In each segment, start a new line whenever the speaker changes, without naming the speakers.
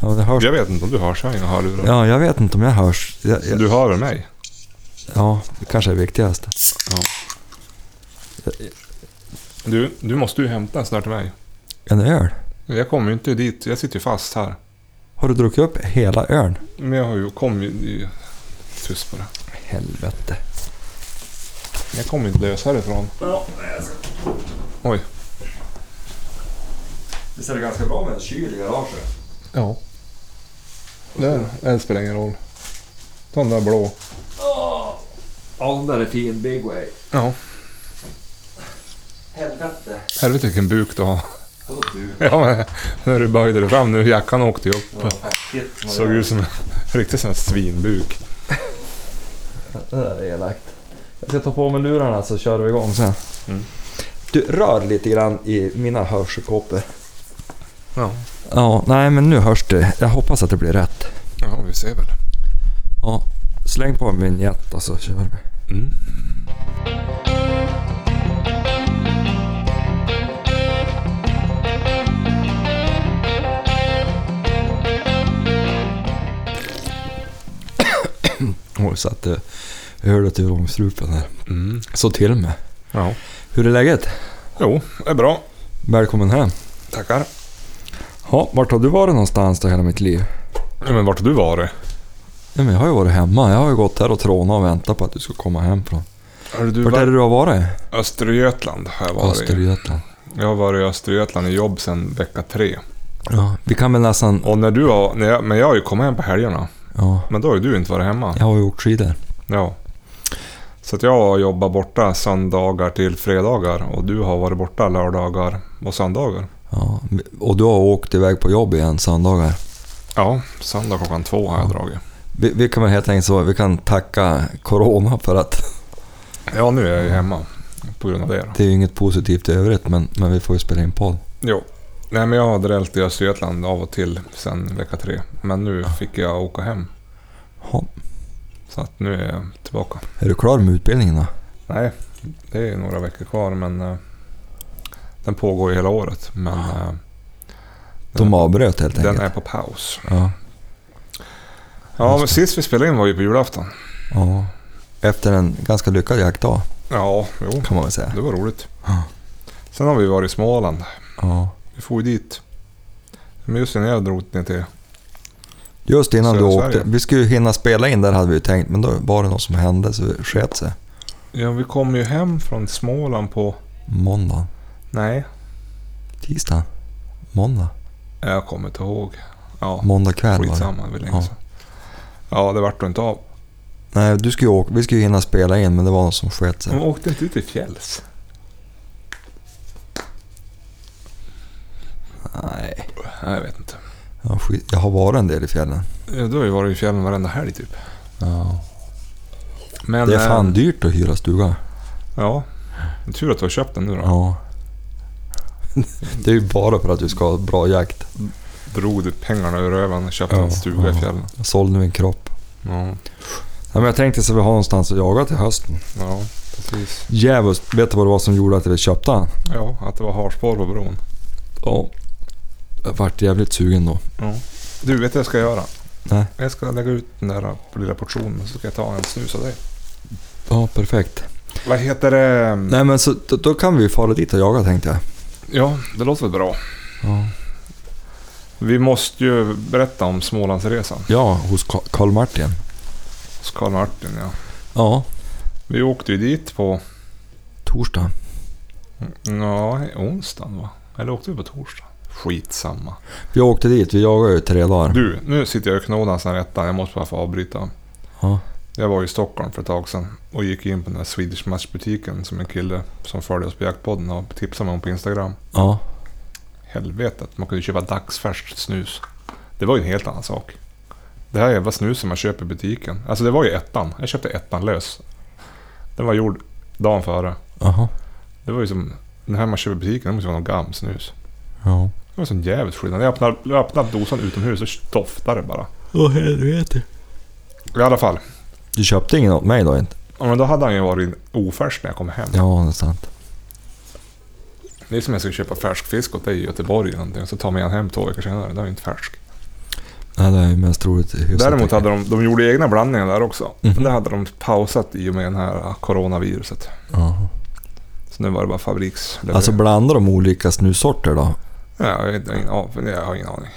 Ja, det hörs.
Jag vet inte om du hörs här. Jag hör du.
Ja, jag vet inte om jag hörs. Jag, jag,
Du hör väl mig?
ja, det kanske är viktigast.
Du, du måste ju hämta en sån här till mig.
En öl?
Jag kommer ju inte dit. Jag sitter ju fast här.
Har du druckit upp hela ölen?
Men jag har ju, kom ju... Tyst bara.
Helvete.
Jag kommer inte lös härifrån.
Ja, jag ska...
Oj.
Visst är det ganska bra med en kyl i garaget?
Ja. Det, det spelar ingen roll. Ta den där blå.
Ja, den där är fin. Big way.
Ja.
Helvete.
Helvete vilken buk du har.
Vadå du?
Ja, men när du böjde dig fram nu. Jackan åkte ju upp.
Shit, vad
Såg
det-
ut som en riktig sån här svinbuk.
Det där är elakt. Jag ska ta på mig lurarna så kör vi igång sen.
Mm.
Du rör lite grann i mina hörselkåpor.
Ja.
Ja, nej men nu hörs det. Jag hoppas att det blir rätt.
Ja, vi ser väl.
Ja, släng på en vignett och så kör vi.
Mm.
Oj, så att eh, jag hörde till vrångstrupen här.
Mm.
Så till med.
Ja.
Hur är läget?
Jo, det är bra.
Välkommen hem.
Tackar.
Ja, vart har du varit någonstans då hela mitt liv?
Ja, men vart har du varit?
Ja, men jag har ju varit hemma. Jag har ju gått här och trånat och väntat på att du ska komma hem från.
Har du
Vart är det du har varit?
varit- Östergötland har jag varit. i.
Östergötland.
Jag har varit i Östergötland i jobb sedan vecka tre.
Ja, vi kan väl nästan...
Och när du har, när jag, men jag har ju kommit hem på helgerna.
Ja,
Men då har ju du inte varit hemma.
jag har ju åkt skidor.
Ja. Så att jag har jobbat borta söndagar till fredagar och du har varit borta lördagar och söndagar.
Ja, och du har åkt iväg på jobb igen söndagar.
Ja, söndag klockan två har jag dragit.
Vi, vi kan väl helt enkelt så, vi kan tacka Corona för att
Ja, nu är jag ju hemma på grund av det. Då.
det är ju inget positivt i övrigt men, men vi får ju spela in podd.
Jo. Nej, men jag har drällt i Östergötland av och till sedan vecka tre. Men nu fick jag åka hem.
Ja.
Så att nu är jag tillbaka.
Är du klar med utbildningen då?
Nej, det är några veckor kvar men eh, den pågår ju hela året. Men eh,
De avbröt helt
den
enkelt.
är på paus.
Ja,
Ja, men sist vi spelade in var ju på julafton.
ja. Efter en ganska lyckad jaktdag
Ja, jo,
kan man väl säga.
det var roligt.
Ja.
Sen har vi varit i Småland.
Ja.
Vi får ju dit. Men just innan jag drog ner till...
Just innan du
Södra
åkte.
Sverige.
Vi skulle ju hinna spela in där hade vi ju tänkt men då var det något som hände så det sket sig.
Ja, vi kom ju hem från Småland på...
Måndag.
Nej,
Tisdag? Måndag?
jag kommer inte ihåg. Ja,
Måndag kväll var det.
skitsamma. Det var
Ja.
länge sedan. Ja, det vart då inte av.
Nej, du skulle ju åka, vi skulle ju hinna spela in men det var något som sket sig.
Men åkte inte ut i fjälls?
Nej.
Nej, jag vet inte.
Ja, skit. Jag har varit en del i fjällen.
Ja, Du har ju varit i fjällen varenda helg typ. Men,
Det är fan
eh,
dyrt att hyra stuga.
Ja. Tur att du har köpt den nu då.
Ja. Det är ju bara för att du ska ha bra jakt.
Drog du pengarna ur röven och köpte
Ja,
en stuga
ja.
i fjällen.
Jag sålde min kropp.
Ja,
Ja, men jag tänkte så vi har någonstans att jaga till hösten.
ja precis.
Djävulskt. Vet du vad det var som gjorde att vi köpte den?
Ja, att det var harspår på bron.
Ja. Jag vart jävligt sugen då.
Ja. Du, vet du vad jag ska göra?
Nej.
Jag ska lägga ut den där lilla portionen så ska jag ta en snus av dig.
Ja, perfekt.
Vad heter det?
Nej men så då, då kan vi ju fara dit och jaga tänkte jag.
Ja, det låter väl bra.
Ja,
Vi måste ju berätta om Smålandsresan.
ja hos Ka- Karl Martin.
Hos Karl Martin, ja.
Ja,
Vi åkte ju dit på...
torsdag.
Ja, onsdagen va? Eller åkte vi på torsdag? Skitsamma.
Vi åkte dit, vi jagade ju tre dagar.
Du, nu sitter jag och knådar en sån här etta. Jag måste bara få avbryta.
Ja.
Jag var i Stockholm för ett tag sedan och gick in på den här Swedish Match-butiken som en kille som följde oss på jaktpodden har tipsat mig om på Instagram.
Ja.
Helvetet, man kunde köpa dagsfärskt snus. Det var ju en helt annan sak. Det här jävla snuset man köper i butiken. Alltså det var ju ettan. Jag köpte ettan lös. Den var gjord dagen före.
Aha.
Det var ju som... Den här man köper i butiken, det måste vara någon gamm snus.
Ja.
Det var en sån jävligt skillnad. Jag öppnade, jag öppnade dosan utomhus och doftade det bara.
Åh helvete.
I alla fall.
Du köpte ingen åt mig då inte?
Ja, men då hade han ju varit ofärsk när jag kom hem.
Ja, det är sant.
Det är som om jag skulle köpa färsk fisk åt dig i Göteborg eller någonting, så tar man igen hem två veckor senare. Den är ju inte färsk.
Nej, det är ju mest troligt hyfsat
Däremot hade
tekniskt.
de, de gjorde egna blandningar där också.
Mhm.
Men det hade de pausat i och med den här ah, coronaviruset.
Jaha.
Så nu var det bara fabriks...
Alltså blandar de olika snussorter då?
ja, jag, har ingen, ja, men jag har ingen aning.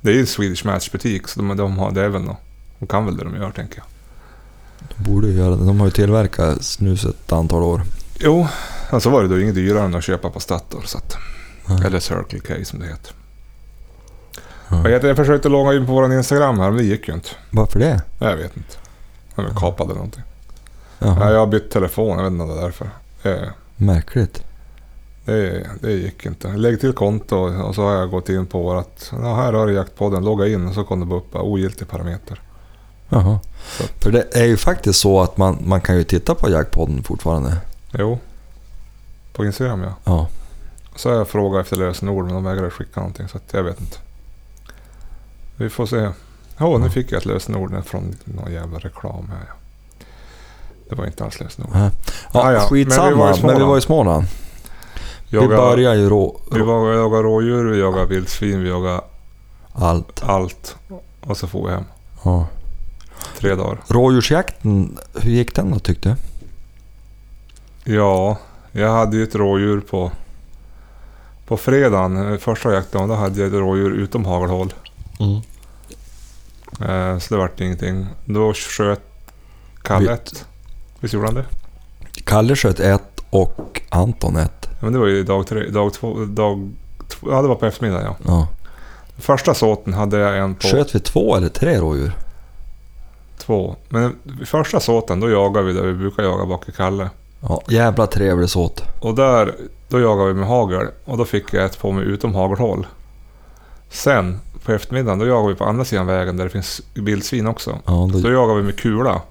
Det är ju en Swedish Match-butik, så de, de har det är väl nå. De kan väl det de gör, tänker jag.
De borde ju göra det. De har ju tillverkat snus ett antal år.
Jo, men så var det då inget dyrare än att köpa på Statoil. Så att,
Nej.
eller Circle K som det heter.
Ja.
Jag, heter, jag försökte logga in på vår Instagram här, men det gick ju inte.
Varför det?
Nej, Jag vet inte. Jag blev kapad eller någonting.
Jaha.
Nej, jag har bytt telefon, jag vet inte om det är därför. Eh,
Märkligt.
Det, det gick inte. Lägg till konto och så har jag gått in på vårat... Ja, här har du jaktpodden, logga in och så kom det bara upp bara, ogiltig parameter.
Jaha.
Så.
För det är ju faktiskt så att man, man kan ju titta på jackpodden fortfarande.
Jo, på Instagram ja.
Ja.
Så har jag frågat efter lösenord men de vägrade skicka någonting så att jag vet inte. Vi får se. Åh, nu
Ja.
fick jag ett lösenord från någon jävla reklam här ja. Det var inte alls lösenord.
Ja,
Ja, ja. Men vi var i
Skitsamma, men vi
Småland.
var i Småland. Vi
Jaga-
börjar ju rå,
Vi
rå,
var- jagade rådjur, vi jagade vildsvin, vi jagade
allt.
allt. Och så får vi hem.
Ja.
Tre dagar.
Rådjursjakten, hur gick den då tyckte du?
Ja, jag hade ju ett rådjur på, på fredagen, eh, första jaktdagen, då hade jag ett rådjur utom hagelhåll. Eh, så det vart ingenting. Då sköt Kalle ett. Visst gjorde han det?
Kalle sköt ett och Anton ett.
Ja, men det var ju dag tre, dag två, dag två, ja det var på eftermiddagen ja.
Ja.
Första såten hade jag en på
Sköt vi två eller tre rådjur?
två. Men i första såten då jagade vi där vi brukar jaga bak i Kalle.
Ja, jävla trevlig såt.
Och där, då jagade vi med hagel och då fick jag ett på mig utom hagelhåll. Sen på eftermiddagen då jagade vi på andra sidan vägen där det finns vildsvin också.
Ja,
Så
då,
då jagade vi med kula.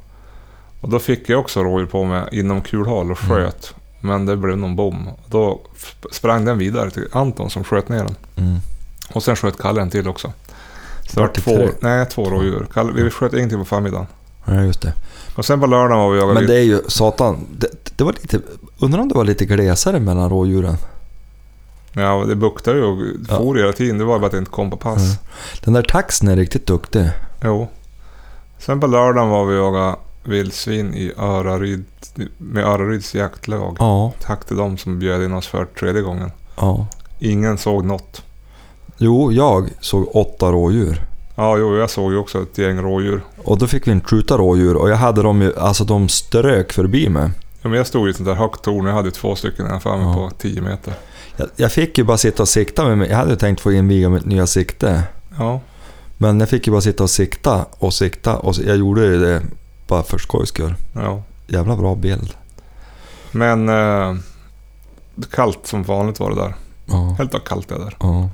Och då fick jag också rådjur på mig inom kulhåll och
Mm.
sköt. Men det blev någon bom. Då f- sprang den vidare till Anton som sköt ner den.
mm.
Och sen sköt Kalle en till också. Så det
Vart
var
det
två,
tre?
nej, två rådjur. Kalle, vi sköt ingenting på förmiddagen.
ja, just det.
Och sen på lördagen var vi och jagade
Men
vilt.
det är ju satan. Det, det var lite, undrar om det var lite glesare mellan rådjuren?
Ja, det buktade ju och
Ja.
for hela tiden. Det var bara att det inte kom på pass.
Mm. Den där taxen är riktigt duktig.
Jo. Sen på lördagen var vi och jagade vildsvin i Öraryd, med Öraryds jaktlag.
Ja,
Tack till dem som bjöd in oss för tredje gången.
ja.
Ingen såg något.
Jo, jag såg åtta rådjur.
Ja, jo, jag såg ju också ett gäng rådjur.
Och då fick vi inte skjuta rådjur och jag hade dem ju, alltså de strök förbi mig.
Ja, men jag stod i ett sånt där högt torn och jag hade ju två stycken framför mig
Ja.
på 10 meter.
Jag, jag fick ju bara sitta och sikta med mig. Jag hade ju tänkt få inviga mitt nya sikte.
Ja,
Men jag fick ju bara sitta och sikta och sikta och jag gjorde ju det bara för skojs skull.
ja.
Jävla bra bild.
Men eh, kallt som vanligt var det där.
Ja.
Helt kallt det där.
Ja.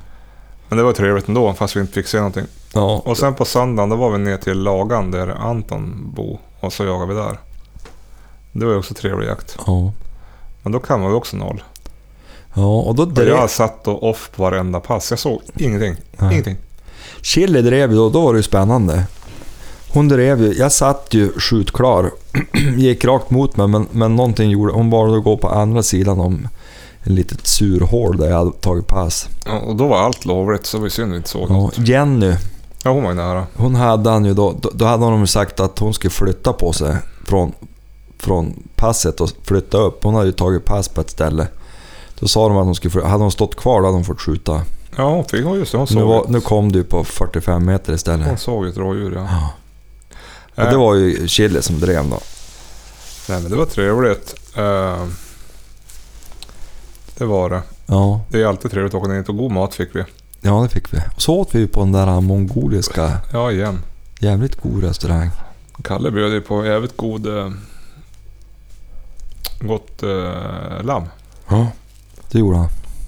Men det var trevligt ändå, fast vi inte fick se någonting.
ja.
Och sen på söndagen, då var vi ner till Lagan där Anton bor. Och så jagade vi där. Det var ju också trevlig jakt.
ja.
Men då kan man ju också noll.
Ja, och då
Och jag
drev...
satt och off på varenda pass. Jag såg ingenting.
Nej.
Ingenting.
Chili drev ju då, då var det ju spännande. Hon drev ju, jag satt ju skjutklar, gick rakt mot mig men, men någonting gjorde, hon valde att gå på andra sidan om ett litet surhål där jag hade tagit pass.
Ja, Och då var allt lovligt, så det var ju synd vi inte såg
Ja,
något.
Jenny,
Ja, hon var ju nära.
hon hade han ju då, då, då hade hon ju sagt att hon skulle flytta på sig från, från passet och flytta upp. Hon hade ju tagit pass på ett ställe. Då sa de att hon skulle flytta, hade hon stått kvar då hade hon fått skjuta.
Ja, hon fick, ja, just det. Hon såg,
Nu, var,
ett,
nu kom du på 45 meter istället.
hon såg ett rådjur, ja.
Ja. Ja, det
Eh,
var ju Chile som drev då.
Nej, men det var trevligt. Eh, det var det.
Ja,
Det är alltid trevligt att åka ner och god mat fick vi.
ja det fick vi. Och så åt vi ju på den där mongoliska,
Ja, igen.
jävligt god restaurang.
Kalle bjöd ju på jävligt god... Eh, gott eh, lamm.
Ja. Det gjorde han.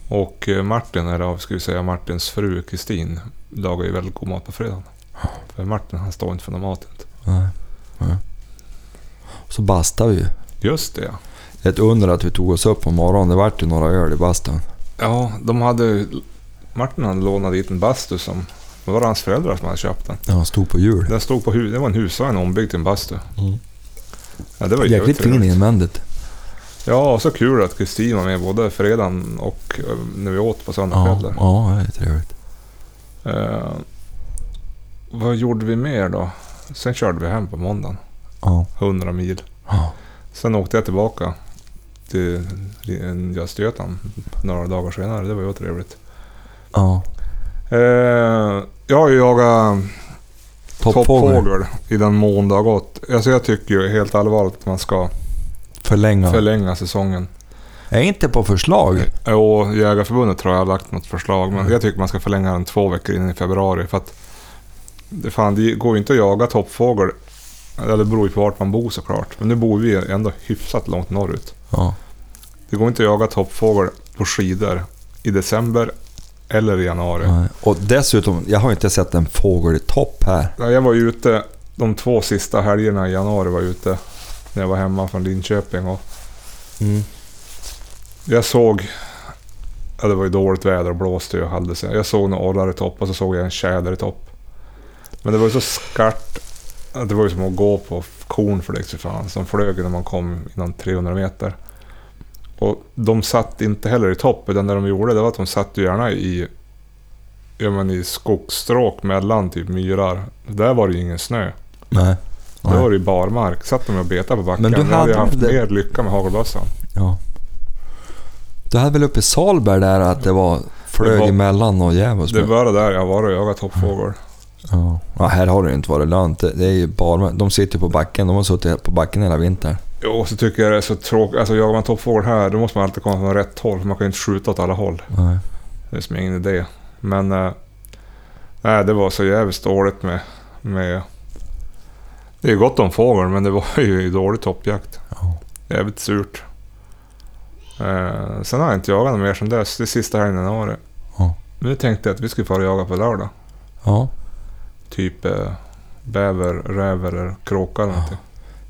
Och eh, Martin, eller ja, ska vi säga Martins fru Kristin, lagar ju väldigt god mat på fredagen. För Martin han står inte för någon mat inte.
Nej. Nej. Och Så bastade vi ju.
Just det ja.
Ett under att vi tog oss upp på morgonen. Det vart ju några öl i bastun.
Ja, de hade... Martin hade lånat dit en bastu som... Det var hans föräldrar som hade köpt den.
Ja, han stod på hjul.
Den stod på hu- Det var en husvagn ombyggd till en bastu.
Mm.
Ja, det var ju
Jäkligt
jävligt
fin
trevligt.
invändigt.
Ja, och så kul att Kristin var med både fredagen och eh, när vi åt på
Ja,
söndagskvällar.
ja, det är trevligt.
Eh, vad gjorde vi mer då? Sen körde vi hem på måndagen.
Ja.
100 mil.
Ja.
Sen åkte jag tillbaka till Li- Östergötland några dagar senare. Det var ju trevligt.
ja.
Eh, jag har ju jagat
Toppfågel.
toppfågel i den mån det har gått. Alltså jag tycker ju helt allvarligt att man ska
Förlänga.
förlänga säsongen.
Är inte på förslag.
Och Jägarförbundet tror jag har lagt något förslag, men jag tycker man ska förlänga den två veckor in i februari. För att det, fan, det går ju inte att jaga toppfågel, eller det beror ju på vart man bor såklart. Men nu bor vi ändå hyfsat långt norrut.
Ja.
Det går inte att jaga toppfågel på skidor i december eller i januari.
Nej. Och dessutom, jag har inte sett en fågel i topp här.
Ja, Jag var ju ute de två sista helgerna i januari var jag ute när jag var hemma från Linköping och
Mm.
jag såg, ja, det var ju dåligt väder och blåste ju och hade sig. Jag såg några orrar i topp och så såg jag en tjäder i topp. Men det var ju så skarpt, att det var ju som att gå på kornfläkt för fan, som flög när man kom inom 300 meter. Och de satt inte heller i topp, utan det de gjorde det var att de satt ju gärna i, ja, men i skogsstråk mellan typ myrar. Där var det ju ingen snö.
Nej.
Då
Nej.
var det ju barmark. Satt de och betade på backen.
Men
Men
du
du hade jag
hade
haft
det-
mer lycka med hagelbössan.
Ja. Du hade väl uppe i Salberg där att det var flög
Det var-
emellan och djävulskt?
Det är bara där jag har varit och jagat toppfågel.
Ja. ja, här har det ju inte varit lönt. Det det är ju bara, de sitter ju på backen. De har suttit på backen hela vintern.
Jo, och så tycker jag det är så tråkigt. Alltså jagar man toppfågel här, då måste man alltid komma från rätt håll. För man kan ju inte skjuta åt alla håll.
Nej.
Det är som ingen idé. Men... Eh, nej, det var så jävligt dåligt med... med det är ju gott om fågel, men det var ju dålig toppjakt.
Ja.
Jävligt surt. Eh, sen har jag inte jagat något mer sen dess. Det är sista helgen i januari.
Ja.
Nu tänkte jag att vi skulle fara och jaga på lördag.
Ja.
Typ eh, bäver, räv eller kråka eller någonting.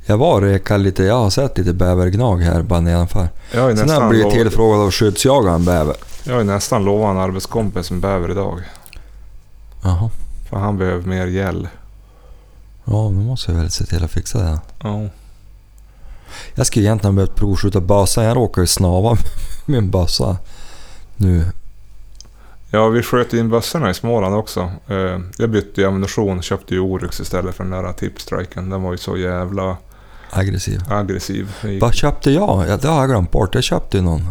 Jag var och rekade lite. Jag har sett lite bävergnag här bara nedanför.
Jag har ju
Sen har jag
nästan,
blivit
lovat-
tillfrågad av skyddsjagaren bäver.
jag har ju nästan lovat en arbetskompis en bäver idag.
Jaha.
För han behöver mer gäll.
Ja, nu måste jag väl se till att fixa det.
Ja.
Jag skulle egentligen behövt provskjuta bössan. Jag råkar ju snava med min bössa nu.
Ja, vi sköt in bössorna i Småland också. Eh, Jag bytte ju ammunition, köpte ju Oryx istället för den där tipstriken. Den var ju så jävla
Aggressiv.
aggressiv. Den gick-
Vad köpte jag? Ja, det har jag glömt bort. Jag köpte ju någon.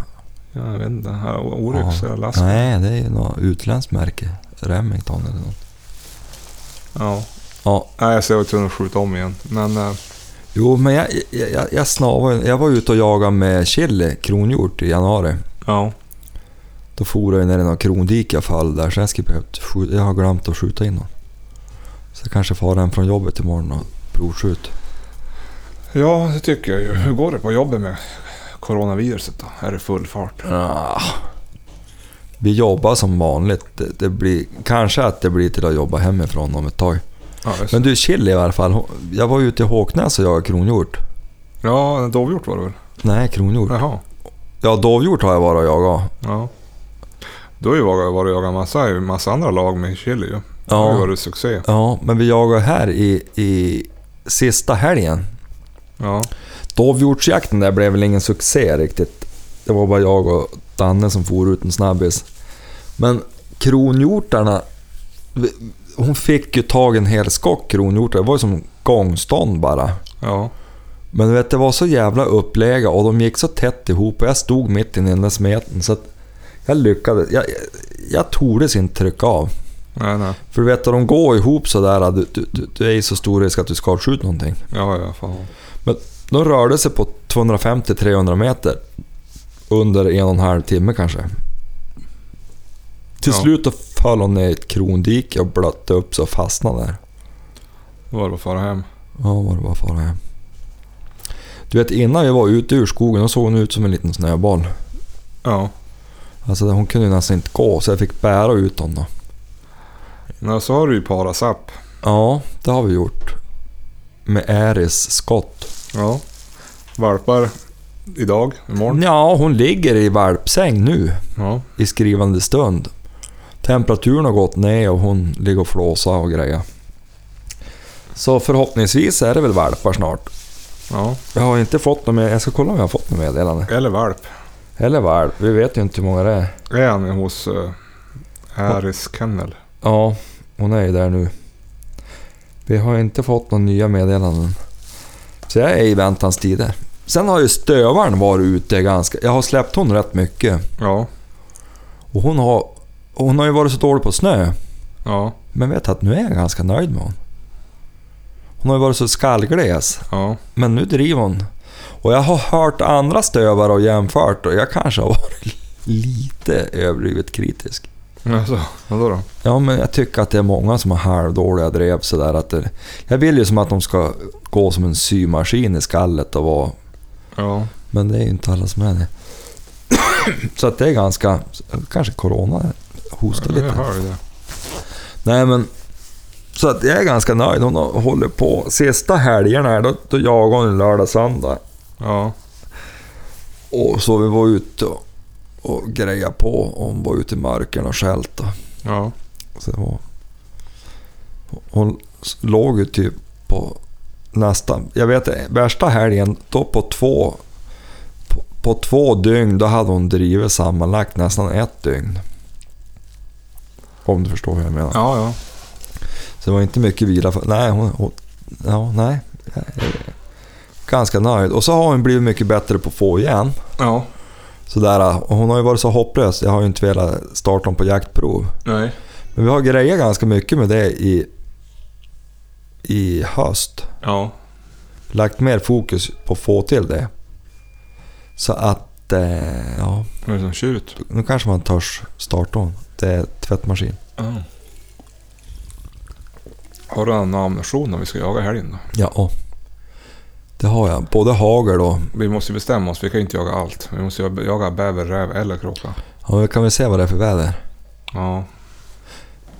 Ja, jag vet inte. Ja, Oryx
Ja.
eller Alaska.
Nej, det är ju något utländskt märke. Remington eller något.
Ja.
Ja,
Nej, så jag var tvungen att skjuta om igen. Men eh,
jo men jag, jag, jag, jag snavade ju. Jag var ute och jagade med chili, kronhjort, i januari.
ja,
Då for jag ju ner i någon krondike jag fall där. Så jag skulle behövt skjuta. Jag har glömt att skjuta in någon. Så jag kanske far hem från jobbet imorgon och provskjut.
ja, det tycker jag ju. Hur går det på jobbet med coronaviruset då? Är det full fart?
Ah. Vi jobbar som vanligt. Det, det blir, kanske att det blir till att jobba hemifrån om ett tag.
Ja, just.
Men du, Chili i alla fall. hon- Jag var ute i Håknäs och jagade kronhjort.
ja en dovhjort var det väl?
Nej, kronhjort.
Jaha.
Ja, dovhjort har jag varit och jagat.
Ja. Du har ju varit varit och jagat massa, i massa andra lag med Chile ju. Det har ju
Ja,
varit succé.
ja men vi jagade här i, i sista helgen.
Ja.
Dovhjortsjakten där blev väl ingen succé riktigt. Det var bara jag och Danne som for ut en snabbis. Men kronhjortarna... vi- Hon fick ju tag i en hel skock kronhjortar. Det var ju som gångstånd bara.
ja.
Men du vet, det var så jävla upplägga och de gick så tätt ihop och jag stod mitt i den där smeten så att jag lyckades. Jag, jag, jag tordes inte trycka av.
Nej, nej.
För du vet, när de går ihop sådär, du, du, du, du är ju så stor risk att du skadskjuter någonting.
Ja, ja, fan.
De rörde sig på 250-300 meter under en och en halv timme kanske. Till
Ja.
slut då föll hon ner i ett krondike och blötte upp sig och fastnade där.
Då var det bara att fara hem.
Ja, var det bara fara hem. Du vet, innan vi var ute ur skogen då såg hon ut som en liten snöboll.
Ja.
Alltså hon kunde ju nästan inte gå så jag fick bära ut honom.
Nej, så har du ju Parasapp.
Ja, det har vi gjort. Med Äris skott.
Ja. Valpar idag, imorgon.
Ja, hon ligger i valpsäng nu
Ja.
i skrivande stund. Temperaturen har gått ner och hon ligger och flåsar och grejer. Så förhoppningsvis är det väl valpar snart.
ja.
Jag har inte fått något med. Jag ska kolla om jag har fått något meddelande.
Eller valp.
Eller valp, vi vet ju inte hur många det är.
Är han hos uh, Harris Kennel?
Ja, hon är ju där nu. Vi har inte fått några nya meddelanden. Så jag är i väntans tider. Sen har ju stövaren varit ute ganska... Jag har släppt hon rätt mycket.
Ja,
Och hon har, hon har ju varit så dålig på snö.
ja,
Men vet att nu är jag ganska nöjd med hon. Hon har ju varit så skallgles.
ja.
Men nu driver hon. Och jag har hört andra stövare och jämfört och jag kanske har varit lite överdrivet kritisk.
Alltså, vadå då?
Ja, men jag tycker att det är många som har halvdåliga drev sådär att det, Jag vill ju som att de ska gå som en symaskin i skallet och vara...
Ja,
Men det är ju inte alla som är det. Så att det är ganska... Kanske corona hostar
jag
lite.
hör ju det.
Nej men... Så att jag är ganska nöjd. Hon har- håller på. Sista helgerna här, då, då jagar hon lördag, söndag.
Ja,
Och så vi var ute och, och grejade på. Och hon var ute i marken och skällt. och-
ja,
Så det var... Hon s- låg ju typ på nästan... Jag vet värsta helgen, då på två... På, på två dygn, då hade hon drivit sammanlagt nästan ett dygn. Om du förstår hur jag menar.
ja, ja.
Så det var inte mycket vila. För, nej, hon, hon, ja, nej. Jag är Ganska nöjd. Och så har hon blivit mycket bättre på att få igen.
Ja,
Sådär, och hon har ju varit så hopplös. Jag har ju inte velat starta hon på jaktprov.
nej.
Men vi har grejat ganska mycket med det i, i höst.
Ja,
Lagt mer fokus på att få till det. Så att, eh, ja,
det är som tjut.
nu kanske man törs starta hon. Det är tvättmaskin.
Ja. Har du någon ammunition om vi ska jaga i helgen då?
Ja, och. det har jag. Både hagel och...
Vi måste ju bestämma oss, vi kan ju inte jaga allt. Vi måste ju jaga bäver, räv eller kråka.
Ja, vi kan väl se vad det är för väder.
Ja,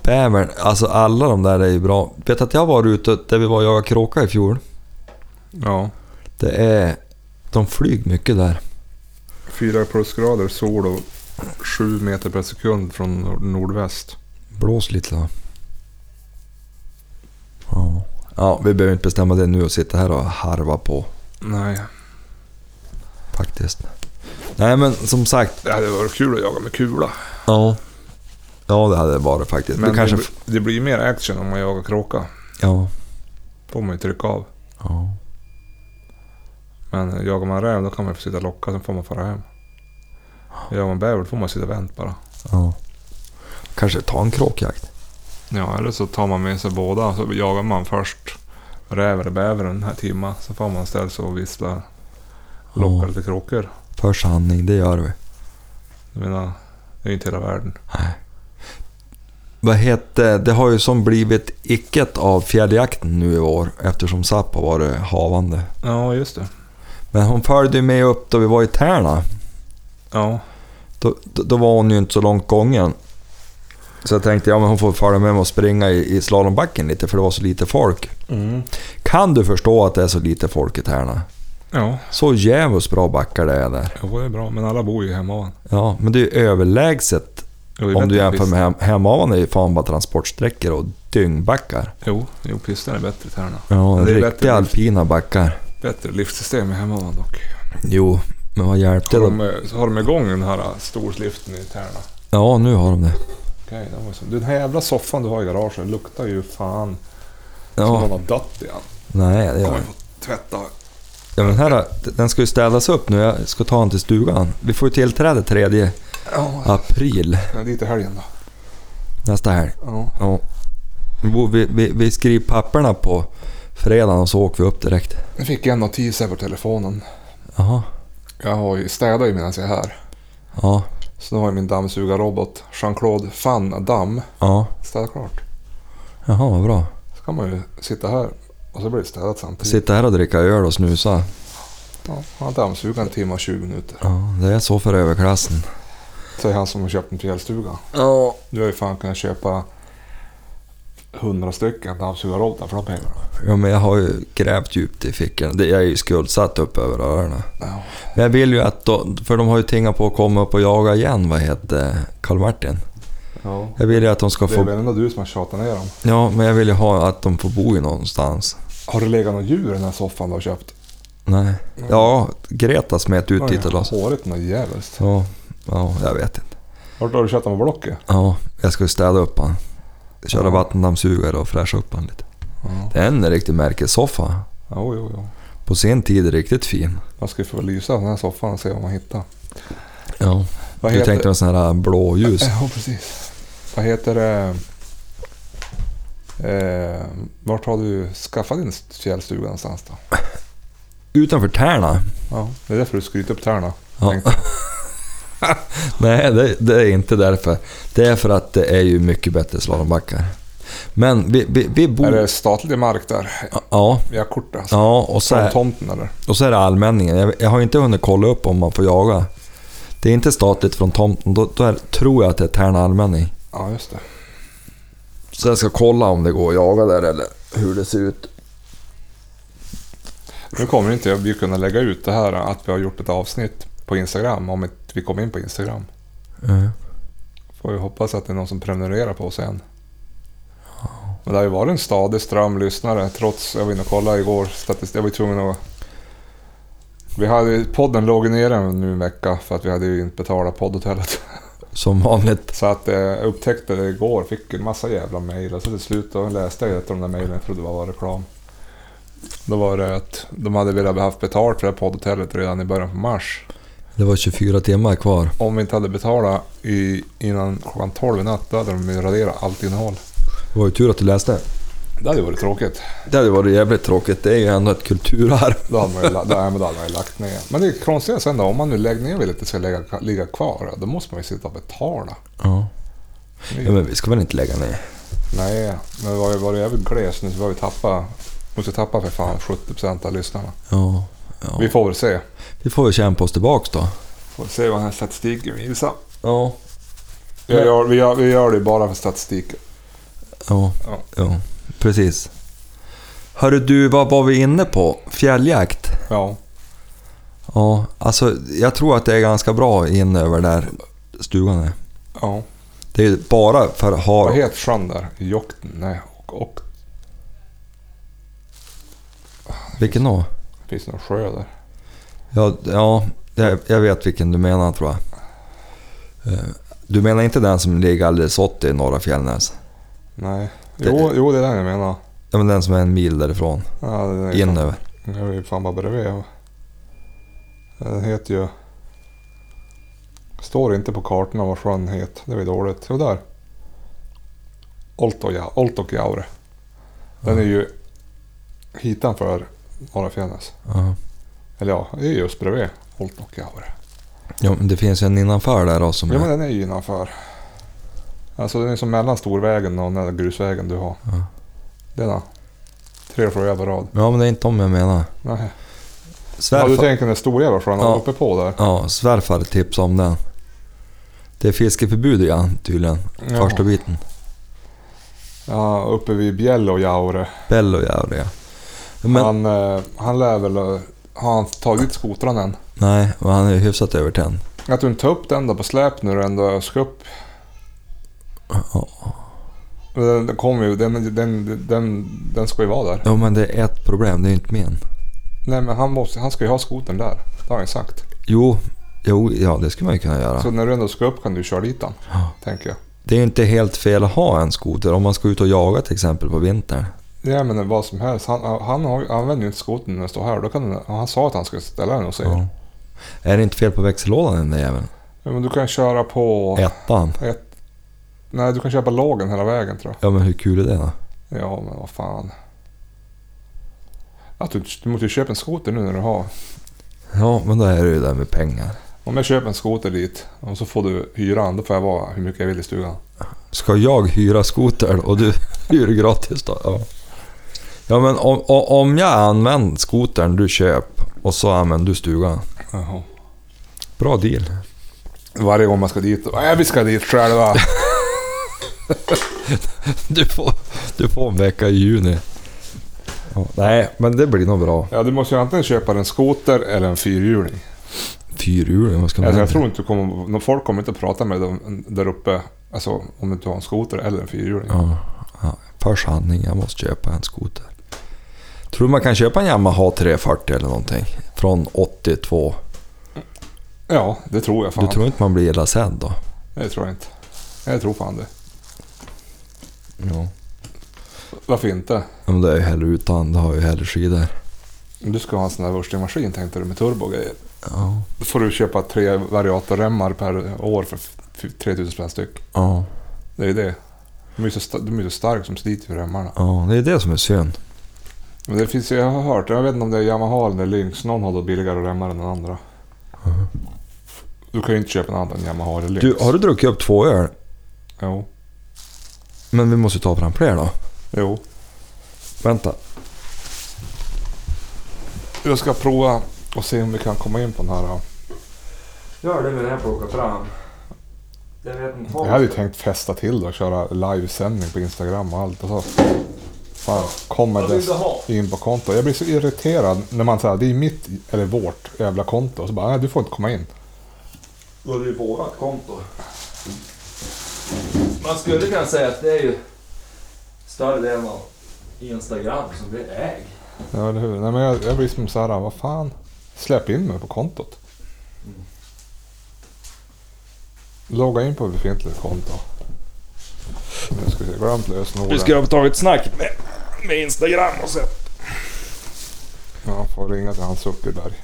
Bävern, alltså alla de där är ju bra. Vet att jag var ute där vi var och jagade kråka i fjol.
ja.
Det är... De flyger mycket där.
Fyra plusgrader, sol och sju meter per sekund från nor- nordväst.
Blås lite då. Ja. ja, vi behöver inte bestämma det nu och sitta här och harva på
Nej,
faktiskt. Nej men som sagt.
det hade varit kul att jaga med kula.
Ja. Ja det hade det varit faktiskt.
Men
Men
det,
kanske...
blir- det blir ju mer action om man jagar kråka.
Ja.
får man ju trycka av.
ja.
Men jagar man räv då kan man få sitta och locka, sen får man fara hem. Jagar man bäver då får man sitta och vänta bara.
Ja. Kanske ta en kråkjakt.
Ja, eller så tar man med sig båda. Så jagar man först räv eller bäver en här timma. Så får man ställa sig och vissla. Locka
Ja.
lite kråkor.
Försanning, det gör vi.
Jag menar, det är ju inte hela världen.
Vad heter, det har ju som blivit icket av fjälljakten nu i år eftersom Zapp har varit havande.
Ja, just det.
Men hon följde ju med upp då vi var i Tärna.
Ja,
Då, då, då var hon ju inte så långt gången. Så jag tänkte, ja men hon får följa med mig och springa i, i slalombacken lite för det var så lite folk. Mm. Kan du förstå att det är så lite folk i Tärna?
ja.
Så jävligt bra backar det är där.
Jo, det är bra. Men alla bor ju hemma. va?
Ja, men det är ju överlägset.
Jo, det är
Om du
bättre
jämför
pist-
med hem, Hemavan är ju fan bara transportsträckor och dyngbackar.
Jo, jo pisten är bättre i Tärna.
Ja,
det är
riktiga
bättre, lift,
alpina backar.
bättre liftsystem i hemmavan dock.
Jo, men vad hjälpte
Har
det?
de, så har de igång den här äh, storliften i Tärna?
Ja, nu har de det.
Okej, det var ju så. Den här jävla soffan du har i garaget luktar ju fan som
Ja,
den har dött igen.
nej, det gör
Kommer
det.
få tvätta.
ja, men här, Den ska ju städas upp nu. Jag ska ta den till stugan. Vi får ju tillträde 3
Ja,
april
ja. dit i helgen då.
nästa helg.
Ja.
Ja. Vi, bor- vi, vi, vi skriver papperna på fredagen och så åker vi upp direkt.
Nu fick jag en notis här på telefonen.
Jaha.
Jag har ju städat ju medan jag är här.
Ja.
Så nu har jag min dammsugarrobot Jean-Claude Van Damme
Ja.
städat klart.
Jaha, vad bra.
Så kan man ju sitta här och så blir det städat samtidigt.
Sitta här och dricka öl och snusa.
Ja, han dammsuger en timme och 20 minuter.
Ja, det är så för överklassen.
Säger han som har köpt en fjällstuga.
Ja.
Du har ju fan kunnat köpa 100 stycken dammsugarrobotar för de pengarna.
Ja, men jag har ju grävt djupt i fickorna. Det- Jag är ju skuldsatt upp över öronen.
Ja.
Men jag vill ju att de, för de har ju tingat på att komma upp och jaga igen, vad heter Karl Martin?
Ja.
Jag vill ju att de ska
Det är
få,
väl ändå du som har tjatat ner dem.
ja men jag vill ju ha att de får bo i någonstans.
Har det legat något djur i den här soffan du har köpt?
Nej. Ja, Greta smet ut dit och la sig.
Håret något jävligt.
Ja, ja, jag vet inte.
Vart har du köpt dem på Blocket?
Ja, jag ska ju städa upp han. Köra
Ja.
vattendammsugare och fräscha upp han lite.
Ja.
Det är en riktig märkessoffa.
Jo, jo, jo.
På sen tid riktigt fin.
Man ska ju få lysa den här soffan och se vad man hittar.
Ja.
Vad
Du tänkte en sån här blåljus.
Ja, precis. Vad heter det? Eh, vart har du skaffat din fjällstuga någonstans då?
Utanför Tärna?
Ja, det är därför du skryter upp Tärna.
Ja.
tänkte jag.
Nej, det, det är inte därför. Det är för att det är ju mycket bättre slalombackar. Men vi, vi, vi
Är det
bor...
statlig mark där?
Ja,
Vi har kort alltså.
ja och, så
Från
är,
tomten eller?
och så är det allmänningen. Jag, jag har inte hunnit kolla upp om man får jaga. Det är inte statligt från tomten. Då, då är, tror jag att det är Tärna allmänning.
Ja, just det.
Så jag ska kolla om det går att jaga där eller hur det ser ut.
Nu kommer inte jag- vi kunna lägga ut det här att vi har gjort ett avsnitt på Instagram om inte vi kommer in på Instagram.
Ja.
Får vi hoppas att det är någon som prenumererar på oss än. Men det har ju varit en stadig ström lyssnare trots, jag var inne och kollade igår, statistik, jag var ju tvungen att... Vi hade, podden låg ju nere nu en vecka för att vi hade ju inte betalat poddhotellet.
Som vanligt.
Så att eh, jag upptäckte det igår, fick en massa jävla mejl och så till slut då läste jag ett av de där mejlen, jag trodde det var reklam. Då var det att de hade velat haft betalt för det här poddhotellet redan i början på mars.
Det var 24 timmar kvar.
Om vi inte hade betalat i, innan klockan 12 i natt, då hade de ju raderat allt innehåll.
Det var ju tur att du läste.
Det hade ju varit tråkigt.
Det hade varit jävligt tråkigt. Det är ju ändå ett kulturarv.
Då hade man ju, la- då hade man då hade man ju lagt ner. Men det är konstigt sen då, om man nu lägger ner vill att det ska lägga, ligga kvar, då måste man ju sitta och betala.
Ja.
Det är ju-
ja men vi ska väl inte lägga ner?
Nej, men vi var ju varit jävligt gles nu så vi har ju tappat, måste ju tappa för fan 70% av lyssnarna.
Ja. ja.
Vi får väl se.
Vi får väl kämpa oss tillbaks då.
Får se vad den här statistiken visar.
Ja.
Vi gör, vi gör, vi gör det bara för statistiken.
Ja,
Ja.
ja. precis. Hörru du, vad var vi inne på? Fjälljakt?
Ja,
Ja, alltså jag tror att det är ganska bra in över där stugan är.
ja.
Det är ju bara för att ha...
Vad heter sjön där? Jokten? Nej, och, och
Vilken då?
finns det någon sjö där?
Ja, ja jag, jag vet vilken du menar tror jag. Eh, Du menar inte den som ligger alldeles åt i norra Fjällnäs?
Nej. Jo, jo det är den jag menar.
Ja, men den som är en mil därifrån.
Ja, den är ju
In
fan-
över.
den är ju fan bara bredvid. Den heter ju... Står inte på kartorna vad sjön heter. Det är ju dåligt. Jo, där. Oltoja- Oltokjaure. Den är ju hitanför Norra Fjällnäs.
Ja.
Eller ja, det är just bredvid Oltokjaure.
Ja, men det finns ju en innanför där då som
Ja men
är...
den är ju innanför. Alltså den är som mellan storvägen och den där grusvägen du har.
Ja.
Denna. Tre sjöar på rad.
Ja, men det är inte dem jag menar.
Nej. Ja, du
Svärfar,
tänker den där storjävla sjön
Ja.
uppe på där.
ja, svärfar tipsade om den. Det är fiskeförbud igen tydligen,
Ja.
första biten.
Ja, uppe vid Bjällåjaure.
Bellojävle ja. Men
Han, eh, han lär väl... eh, Har han tagit skotran än?
nej, men han är ju hyfsat över tänd.
Att du inte tar upp den då på släp nu ändå ska upp.
Ja.
Den, den kommer ju... Den, den, den, den ska ju vara där.
ja, men det är ett problem, det är ju inte min.
Nej men han, måste, han ska ju ha skoten där. Det har han ju sagt.
Jo, jo, ja det skulle man ju kunna göra.
Så när du ändå ska upp kan du köra dit den.
Ja.
Tänker jag.
Det är ju inte helt fel att ha en skoter om man ska ut och jaga till exempel på vintern.
Ja men vad som helst. Han, han har, ju- använder ju inte skotern när den står här. Då kan den, han sa att han skulle ställa den och se.
Ja. Är det inte fel på växellådan den där jäveln?
Ja, Men du kan köra på...
Ettan.
Ett, nej, du kan köpa lågen hela vägen tror
Ja men hur kul är det då?
jag. Ja men vad fan. Att du, du måste ju köpa en skoter nu när du har.
Ja men då är det ju det där med pengar.
Om jag köper en skoter dit och så får du hyran. Då får jag vara hur mycket jag vill i stugan.
Ska jag hyra skoter och du hyr gratis då? Ja. Ja men om, o- om jag använder skotern du köp och så använder du stugan.
Jaha.
Bra deal.
Varje gång man ska dit. Nej vi ska dit själva.
Du får, du får en vecka i juni. Ja, nej men det blir nog bra.
ja du måste ju antingen köpa en skoter eller en fyrhjuling.
Fyrhjuling, vad ska man
Alltså, jag
göra?
tror inte du kommer, nå- folk kommer inte att prata med dem där uppe, alltså om du inte har en skoter eller en fyrhjuling.
Ja, ja. Först handling, jag måste köpa en skoter. Tror du man kan köpa en Yamaha 340 eller någonting? Från 82.
Ja, det tror jag fan.
Du tror inte man blir illa sedd då?
Det tror jag inte. Jag tror fan det.
Ja.
Varför inte?
Ja, men det är ju hellre utan, det har ju hellre skidor.
Du ska ha en sån där wurstingmaskin tänkte du med turbo och grejer.
Ja.
Då får du köpa tre variatorremmar per år för f- f- 3000 spänn styck.
Ja,
Det är det. De är ju så, sta- de är ju så starka som sliter för remmarna.
ja, det är det som är synd.
Men det finns ju, jag har hört, jag vet inte om det är Yamaha eller Lynx, någon har då billigare remmar än den andra. Du kan ju inte köpa en annan än Yamaha eller Lynx.
Uh-huh. Du, har du druckit upp två öl?
Jo.
Men vi måste ju ta fram fler då.
jo.
Vänta.
Jag ska prova och se om vi kan komma in på den här. ja.
Gör det medan jag plockar fram. Jag vet inte
Jag hade ju tänkt festa till då, köra livesändning på Instagram och allt. Och så. Fan, kommer
Vad vill du
det
ha?
in på konto. Jag blir så irriterad när man säger det är mitt eller vårt jävla konto. Och så bara, nej du får inte komma in.
Då är det ju vårat konto. Man skulle kunna säga att det är ju större delen av Instagram som vi äger.
Ja, eller hur? Nej, men jag, jag blir som så här, vad fan. Släpp in mig på kontot. Logga in på befintligt konto. Nu ska vi se, glömt lösenordet.
ha tagit ett snack med, med Instagram och så.
Ja, får ringa till Hans Zuckerberg.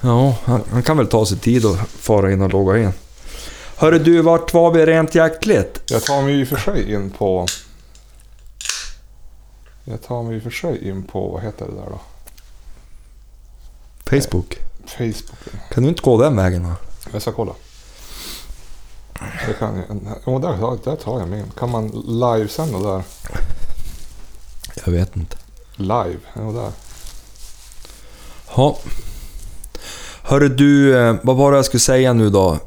Ja, han, han kan väl ta sig tid och fara in och logga in. Hörru du, vart var vi rent jaktligt?
Jag tar mig i och för sig in på... Jag tar mig i och för sig in på, vad heter det där då?
Facebook.
Facebook.
Kan du inte gå den vägen då?
Jag ska kolla. Det kan jag. Jo, där, tar- där tar jag mig in. Kan man livesända där?
Jag vet inte.
Live? Jo, där.
Ja. Hörru du, eh, vad var det jag skulle säga nu då?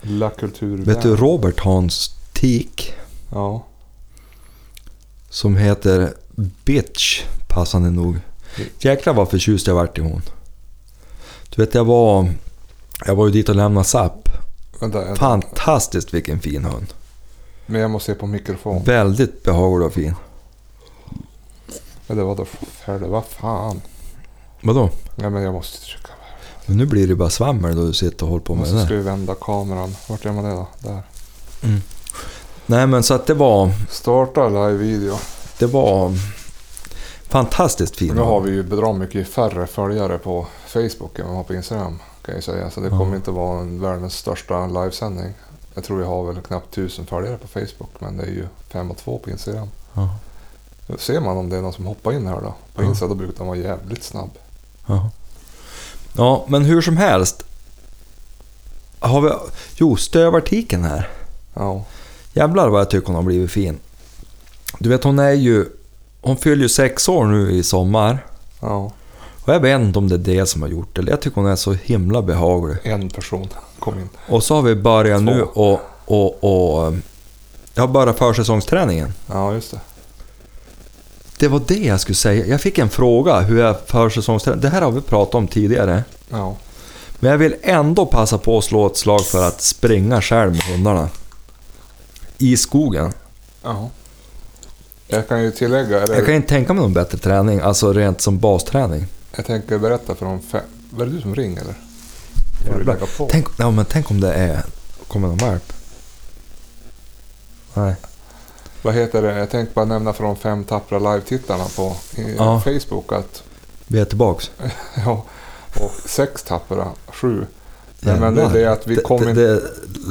La Kultur.
Vet du Robert Hans Tik
Ja.
som heter Bitch, passande nog. Jäklar vad förtjust jag vart i hon. Du vet jag var, jag var ju dit och lämnade Zapp.
Vänta, vänta.
Fantastiskt vilken fin hund.
Men jag måste se på mikrofon.
Väldigt behaglig och fin.
Men det var då färdigt. Vad fan.
Vadå?
Nej men jag måste trycka. Jag
Men nu blir det bara svammel då du sitter och håller på med det
måste
där.
skruva vända kameran. Vart gör man det då? Där.
Nej men så att det var,
Starta live-video.
det var fantastiskt fin
Nu har
hund.
vi ju bra mycket färre följare på Facebook än vad vi har på Instagram. Kan jag ju säga. Så det
Ja.
kommer inte vara en världens största livesändning. Jag tror vi har väl knappt tusen följare på Facebook. Men det är ju fem och två på Instagram.
Ja,
Ser man om det är någon som hoppar in här då? På
Ja.
Insta då brukar de vara jävligt snabb.
ja. ja men hur som helst. Har vi, jo stövartiken här.
Ja.
Jävlar vad jag tycker hon har blivit fin. Du vet hon är ju, hon fyller ju sex år nu i sommar.
Ja.
Och jag vet inte om det är det som har gjort det. eller Jag tycker hon är så himla behaglig.
En person kom in.
Och så har vi börjat nu
Två.
och, och, och... eh, Jag har börjat försäsongsträningen.
Ja just det.
Det var det jag skulle säga. Jag fick en fråga hur jag försäsongstränar. Det här har vi pratat om tidigare.
Ja.
Men jag vill ändå passa på att slå ett slag för att springa själv med hundarna. I skogen.
Ja. Jag kan ju tillägga, eller
Jag
jag,
kan inte tänka mig någon bättre träning, alltså rent som basträning.
tänker berätta för de fem... Var det du som ring eller? Får du
Jävlar.
lägga på?
Tänk, ja, men tänk om det är... Kommer någon valp? Nej.
Vad heter det? Jag tänkte bara nämna för de fem tappra live-tittarna på i-
Ja.
Facebook att...
Vi är tillbaks.
Ja. Och sex tappra, sju. Nej, men det är det att vi
Det-
kommer
det-
inte...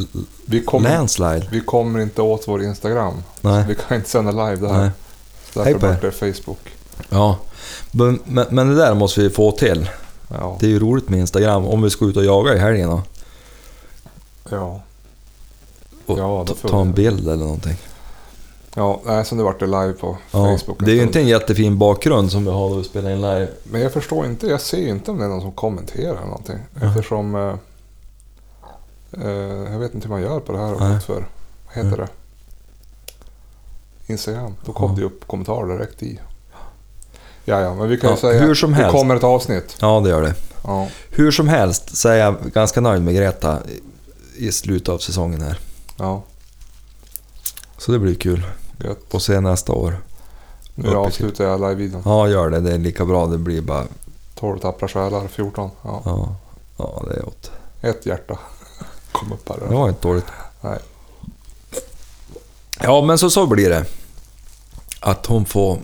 det-
Vi kommer,
Landslide.
vi kommer inte åt vår Instagram.
Nej.
Vi kan inte sända live där.
Nej.
Så
Hej
Därför
på er.
vart det Facebook.
Ja. Men, men, men det där måste vi få till.
Ja.
Det är ju roligt med Instagram om vi ska ut och jaga i helgen då.
ja.
Och ta,
Ja, då får
ta
vi-
en bild eller någonting.
Ja, nej, så nu vart det live på
Ja,
Facebook. en
det är ju
stund.
inte en jättefin bakgrund som vi har när vi spelar in live.
Men jag förstår inte, jag ser inte om det är någon som kommenterar eller någonting.
Ja.
Eftersom... Eh, eh, jag vet inte hur man gör på det här
Nej.
och för. Vad heter det? Instagram. Då kom
Ja.
det ju upp kommentarer direkt i. Ja, ja, men vi kan ju
Ja,
säga...
hur som
Det
helst.
kommer ett avsnitt.
Ja, det gör det.
Ja,
Hur som helst så är jag ganska nöjd med Greta i- i slutet av säsongen här.
ja
Så det blir kul.
gött.
Och se nästa år.
Nu
Upp i-
avslutar jag live-videon.
Ja, gör det. Det är lika bra. Det blir bara...
12 tappra själar, 14. Ja.
Ja, ja det är åt.
Ett hjärta. Kom upp här.
Det var inte dåligt.
Nej.
Ja, men så, så blir det. Att hon får...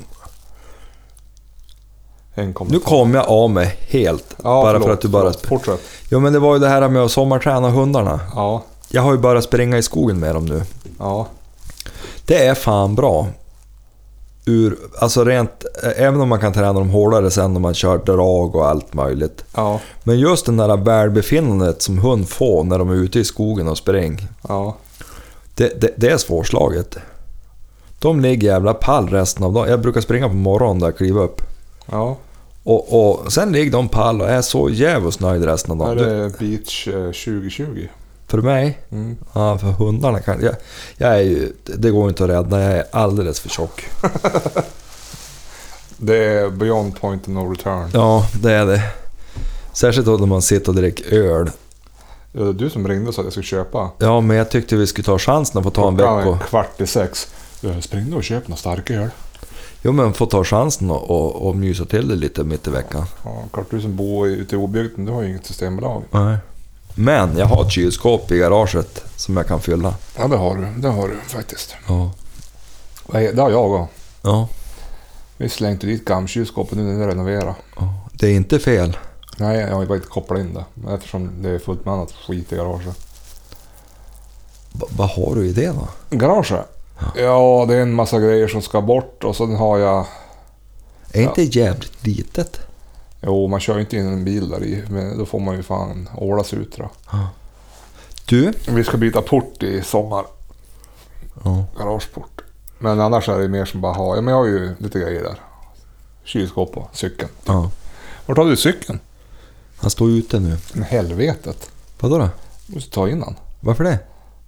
En kommentar.
Nu kom jag av mig helt.
Ja,
bara
förlåt,
för att du bara...
förlåt. Fortsätt.
Jo, men det var ju det här med att sommarträna hundarna.
Ja,
Jag har ju börjat springa i skogen med dem nu.
ja.
Det är fan bra. Ur, alltså rent, även om man kan träna dem hårdare sen när man kör drag och allt möjligt.
Ja,
Men just det där välbefinnandet som hund får när de är ute i skogen och springer.
ja.
Det, det, det är svårslaget. De ligger jävla pall resten av dagen. Jag brukar springa på morgonen där, kliva upp.
Ja,
Och, och sen ligger de pall och är så jävligt nöjd resten av
är
dagen. Du,
det Beach eh, 2020?
för mig?
Mm.
Ja, för hundarna kan jag, jag är ju, Det går inte att rädda, jag är alldeles för tjock.
Det är Beyond Point of No Return.
Ja, det är det. Särskilt då när man sitter och dricker öl.
Det var Eh, du som ringde och sa att jag skulle köpa.
Ja, men jag tyckte vi skulle ta chansen att få ta en
Klockan är
vecko...
Kvart i sex. Jag springde och köpte några starka öl.
Jo, men få ta chansen och, och, och mysa till det lite mitt i veckan.
Ja, klart du som bor i- ute i obygden, du har ju inget systembolag.
Nej. Men jag har ett kylskåp i garaget som jag kan fylla.
Ja, det har du. Det har du faktiskt.
Ja.
Vad är- Det har jag också.
Ja.
Vi slängde dit gammkylskåpet nu när det renoverar.
Det är inte fel.
Nej, jag har ju bara inte kopplat in det. Men Eftersom det är fullt med annat skit i garaget.
Va- vad har du i det då?
Garaget? Ja, det är en massa grejer som ska bort och sen har jag...
Är
Ja.
inte jävligt litet?
Jo, man kör ju inte in en bil där i. Men då får man ju fan ålas ut då.
Du?
Vi ska byta port i sommar.
Ja.
Garageport. Men annars är det mer som bara ha. Ja, men jag har ju lite grejer där. Kylskåp och cykeln.
ja.
Vart har du cykeln?
Han står ute nu.
Men helvetet.
Vadå då?
Du måste ta in han.
Varför det?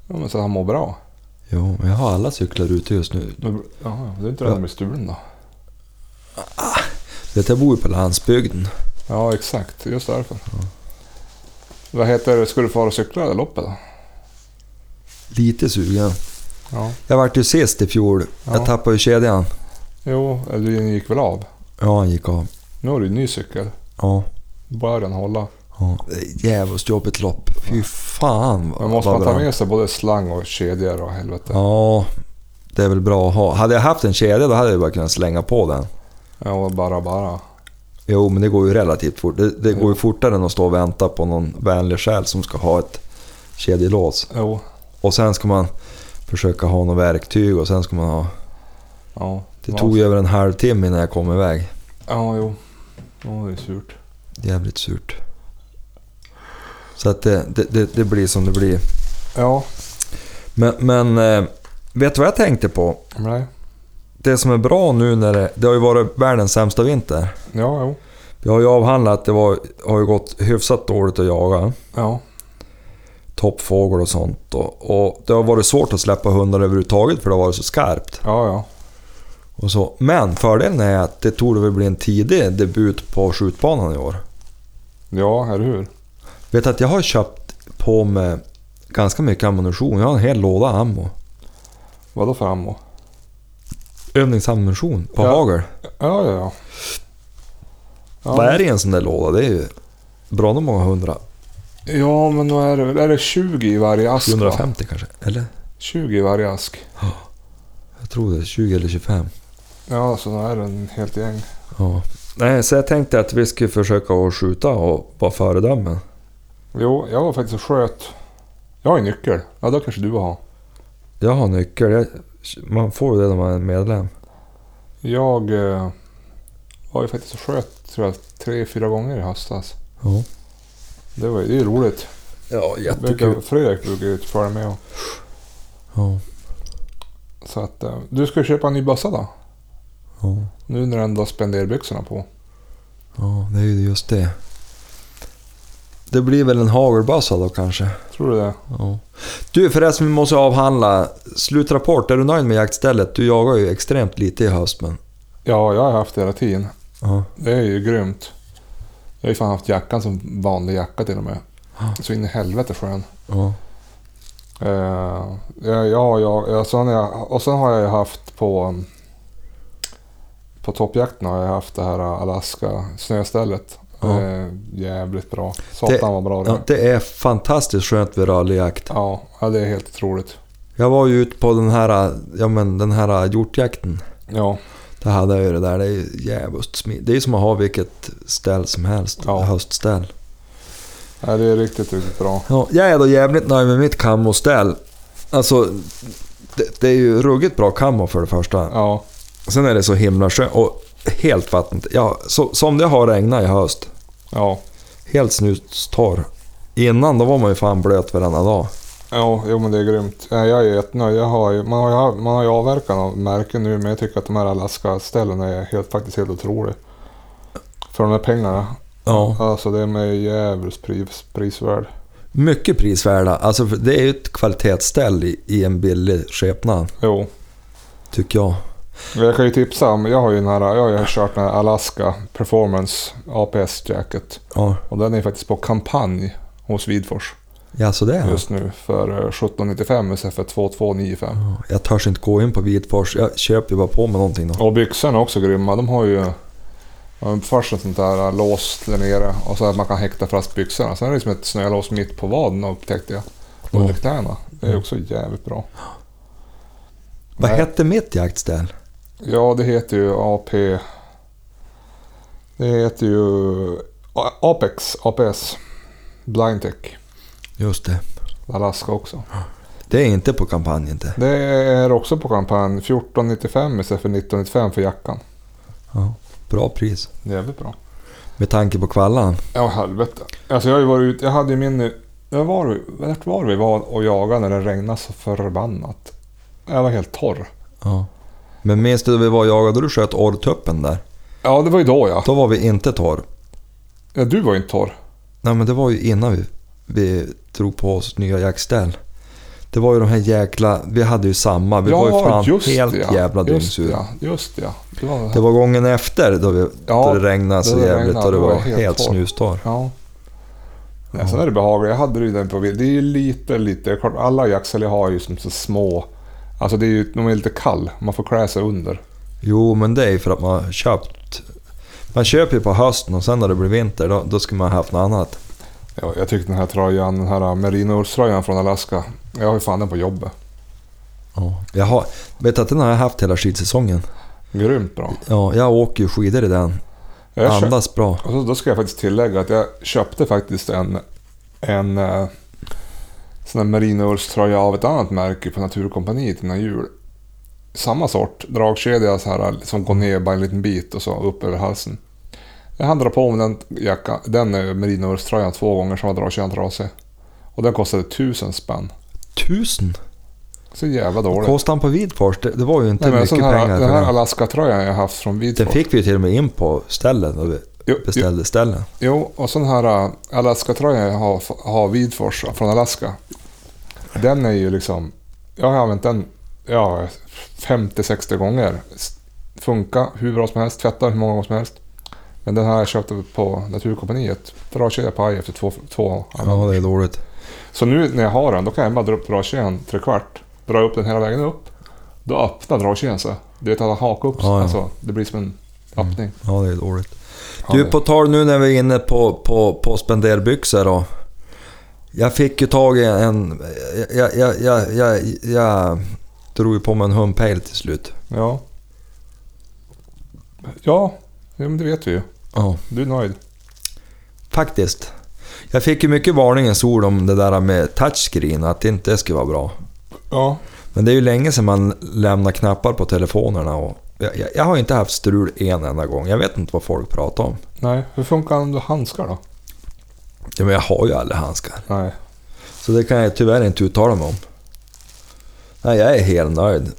Ja, men så att han mår bra.
Jo, men jag har alla cyklar ute just nu.
Men- Ja, ja, du är inte rädd att bli stulen då?
Vet, jag bor ju på landsbygden.
Ja, exakt. Just därför. Vad heter det? Ska du fara och cykla det loppet då?
Lite sugen.
Ja.
Jag vart ju sist i fjol.
Ja.
Jag tappade ju kedjan.
Jo, eller du gick väl av?
Ja, han gick av.
Nu har du en ny cykel.
Ja.
Bara den hålla.
ja. Det är Jävligt jobbigt lopp. Fy fan vad-
Men måste
vad
man ta
bra.
med sig både slang och kedjor och helvete?
Ja, det är väl bra att ha. Hade jag haft en kedja då hade jag bara kunnat slänga på den.
Ja, och bara bara.
Jo, men det går ju relativt fort. Det, det går ju fortare än att stå och vänta på någon vänlig själ som ska ha ett kedjelås.
Jo.
Och sen ska man försöka ha något verktyg och sen ska man ha...
Ja.
Det tog ju över en halvtimme innan jag kom iväg.
Ja, jo. Ja, det är surt.
Jävligt surt. Så att det, det, det, det blir som det blir.
Ja,
Men, men eh, vet du vad jag tänkte på?
men nej.
Det som är bra nu när det... Det har ju varit världens sämsta vinter.
Ja, jo.
Vi har ju avhandlat, det var, har ju gått hyfsat dåligt att jaga.
Ja.
Toppfågel och sånt. Och, och det har varit svårt att släppa hundar överhuvudtaget för det har varit så skarpt.
Ja, ja.
Och så. Men fördelen är att det torde väl bli en tidig debut på skjutbanan i år.
Ja, eller hur?
Vet att jag har köpt på mig ganska mycket ammunition. Jag har en hel låda ammo.
Vadå för ammo?
Övningsammunition på
Ja.
hagel.
Ja, ja, ja. ja
Vad är det i en sån där låda? Det är ju bra nog många hundra.
Ja, men då är det väl... Är det 20 i varje ask? va?
750 kanske? Eller?
20 i varje ask.
Jag tror det är 20 eller 25.
Ja, så då är det en helt gäng.
Ja. Nej, så jag tänkte att vi skulle försöka att skjuta och vara föredömen.
Jo, jag var faktiskt och sköt. Jag har ju nyckel. Ja, då kanske du har.
Jag har nyckel. Jag, man får ju det när man är medlem.
Jag eh, var ju faktiskt och sköt, tror jag, tre, fyra gånger i höstas.
Ja,
Det, var, det är ju roligt.
ja
Brukar, Fredrik brukar ju följa med och...
Ja,
Så att, eh, du ska ju köpa en ny bössa då?
ja,
Nu när du ändå har spenderbyxorna på.
ja, det är ju just det. Det blir väl en hagelbössa då kanske.
Tror du det?
Ja. Du förresten, vi måste avhandla. Slutrapport, är du nöjd med jaktstället? Du jagar ju extremt lite i höst men...
Ja, jag har haft det hela tiden.
Ja.
Det är ju grymt. Jag har ju fan haft jackan som vanlig jacka till och med. Så in i helvete skön.
Ja.
Eh, ja, ja, ja, ja, sen har jag, och sen har jag ju haft på um, på toppjakten har jag haft det här eh, Alaska snöstället.
Ja.
Eh, jävligt bra. Satan vad bra det
Ja,
är.
det är fantastiskt skönt vid rallyjakt.
Ja, ja, det är helt otroligt.
Jag var ju ute på den här, ja men den här hjortjakten.
Ja,
Där hade jag ju det där. Det är ju jävligt smidigt. Det är ju som att ha vilket ställ som helst.
Ja.
Höstställ.
Nej, det är riktigt, riktigt bra.
Ja, jag är då jävligt nöjd med mitt kammoställ. Alltså, det, det är ju ruggigt bra kammo för det första.
Ja,
Sen är det så himla skönt och helt vattnet. Ja, så, som det har regnat i höst.
ja,
Helt snustorr. Innan då var man ju fan blöt varenda dag.
ja, jo men det är grymt. Nej, Jag är jättenöjd. Jag har ju, man, har ju, haft- man har ju avverkat av märken nu, men jag tycker att de här Alaska-ställena är helt, faktiskt helt otroliga. För de här pengarna.
Ja.
Alltså det är med jävligt pris, prisvärd.
Mycket prisvärda. Alltså för det är ju ett kvalitetsställ i, i en billig skepnad,
Jo.
tycker jag.
Men Jag kan ju tipsa om, jag har ju den här, jag har ju kört den här Alaska Performance APS Jacket.
Ja,
Och den är faktiskt på kampanj hos Vidfors
ja så det är
just nu för eh, 1795 istället för 2295.
Ja, Jag törs inte gå in på Vitfors. Jag köper ju bara på mig någonting då.
Och byxorna är också grymma. De har ju ja, först ett sånt där eh, lås där nere och så att man kan häkta fast byxorna. Sen är det liksom ett snölås mitt på vaden upptäckte jag. Under
Ja.
knäna. Det är också jävligt bra.
Vad
Nej.
hette mitt jaktställ?
Ja, det heter ju AP... Det heter ju A- Apex, APS. Blindtech.
Just det.
Alaska också.
Det är inte på kampanj inte.
Det är också på kampanj 1495 istället för 1995 för jackan.
Ja. Bra pris.
Jävligt bra.
Med tanke på kvallan.
Ja, helvete. Alltså jag har ju varit ute, jag hade ju min... Jag var, vart var vi var och jagade när det regnade så förbannat? Jag var helt torr.
Ja. Men minns du när vi var och jagade och du sköt orrtuppen där?
Ja, det var ju då ja.
Då var vi inte torr.
ja du var ju inte torr.
Nej men det var ju innan vi, vi drog på oss nya jaktställ. Det var ju de här jäkla... Vi hade ju samma. Vi
ja,
var ju fan helt
ja.
jävla
Just det,
dyngsura.
ja. Just det, ja. Det var
Det var gången efter då, vi,
Ja,
då det regnade så
då det
jävligt
regnade,
och det
då
var
var det helt
helt
torrt.
snustorr.
Ja. Nej, sen är det behagligt. Jag hade ju den på bild. Det är ju lite, lite... klart, Alla jackceller har ju som så små... Alltså det är ju, de är lite kall. Man får klä sig under.
Jo, men det är för att man har köpt... Man köper ju på hösten och sen när det blir vinter då, då ska man ha haft något annat.
Ja, jag tyckte den här tröjan, den här merinoullströjan från Alaska. Jag har ju fan den på jobbet.
Ja. Jag har, vet du att den har jag haft hela skidsäsongen.
Grymt bra.
Ja, jag åker ju skidor i den.
Jag köpte,
Andas bra.
och så, Alltså, då ska jag faktiskt tillägga att jag köpte faktiskt en, en eh, sån där merinoullströja av ett annat märke på Naturkompaniet innan jul. Samma sort, dragkedja så här, som går ner bara en liten bit och så upp över halsen. Jag hann dra på mig den, jacka, den eh, merinoullströjan två gånger som var dragkedjan trasig. Och den kostade tusen spänn.
Tusen!
Så jävla dåligt.
Kostade han på Vidfors? Det, det var ju inte
Nej, men
mycket
sån här,
pengar
den
för
här
den.
Alaska-tröjan jag haft från
Den
Vidfors.
fick vi ju till och med in på ställen och vi
Jo, jo,
beställde ställen.
jo, och sån här äh, Alaska-tröjan jag har, har Vidfors från Alaska. Den är ju liksom... Jag har använt den ja, 50-60 gånger. S- Funkar hur bra som helst, tvättar hur många gånger som helst. Men den här har jag köpt på Naturkompaniet. Dragkedja paj efter två... två
Ja, det är dåligt.
Så nu när jag har den, då kan jag bara dra upp dragkedjan trekvart. Dra upp den hela vägen upp. Då öppnar dragkedjan sig. Du vet att han hakar upp
Ja,
sig.
Mm. ja.
Alltså, det blir som en öppning.
Ja, det är dåligt.
Ja,
Du,
det-
på tal nu när vi är inne på, på, på spenderbyxor då. Jag fick ju tag i en... Jag, jag, jag, jag, jag drog ju på mig en humpale till slut.
Ja. Ja, ja men det vet vi ju.
Ja,
Du är nöjd.
faktiskt. Jag fick ju mycket varningens ord om det där med touchscreen, att det inte skulle vara bra.
Ja.
Men det är ju länge sedan man lämnar knappar på telefonerna och jag, jag, jag har inte haft strul en enda gång. Jag vet inte vad folk pratar om.
Nej, hur funkar det om du handskar då?
Ja, men jag har ju aldrig handskar.
Nej.
Så det kan jag tyvärr inte uttala mig om. Nej, jag är helt nöjd.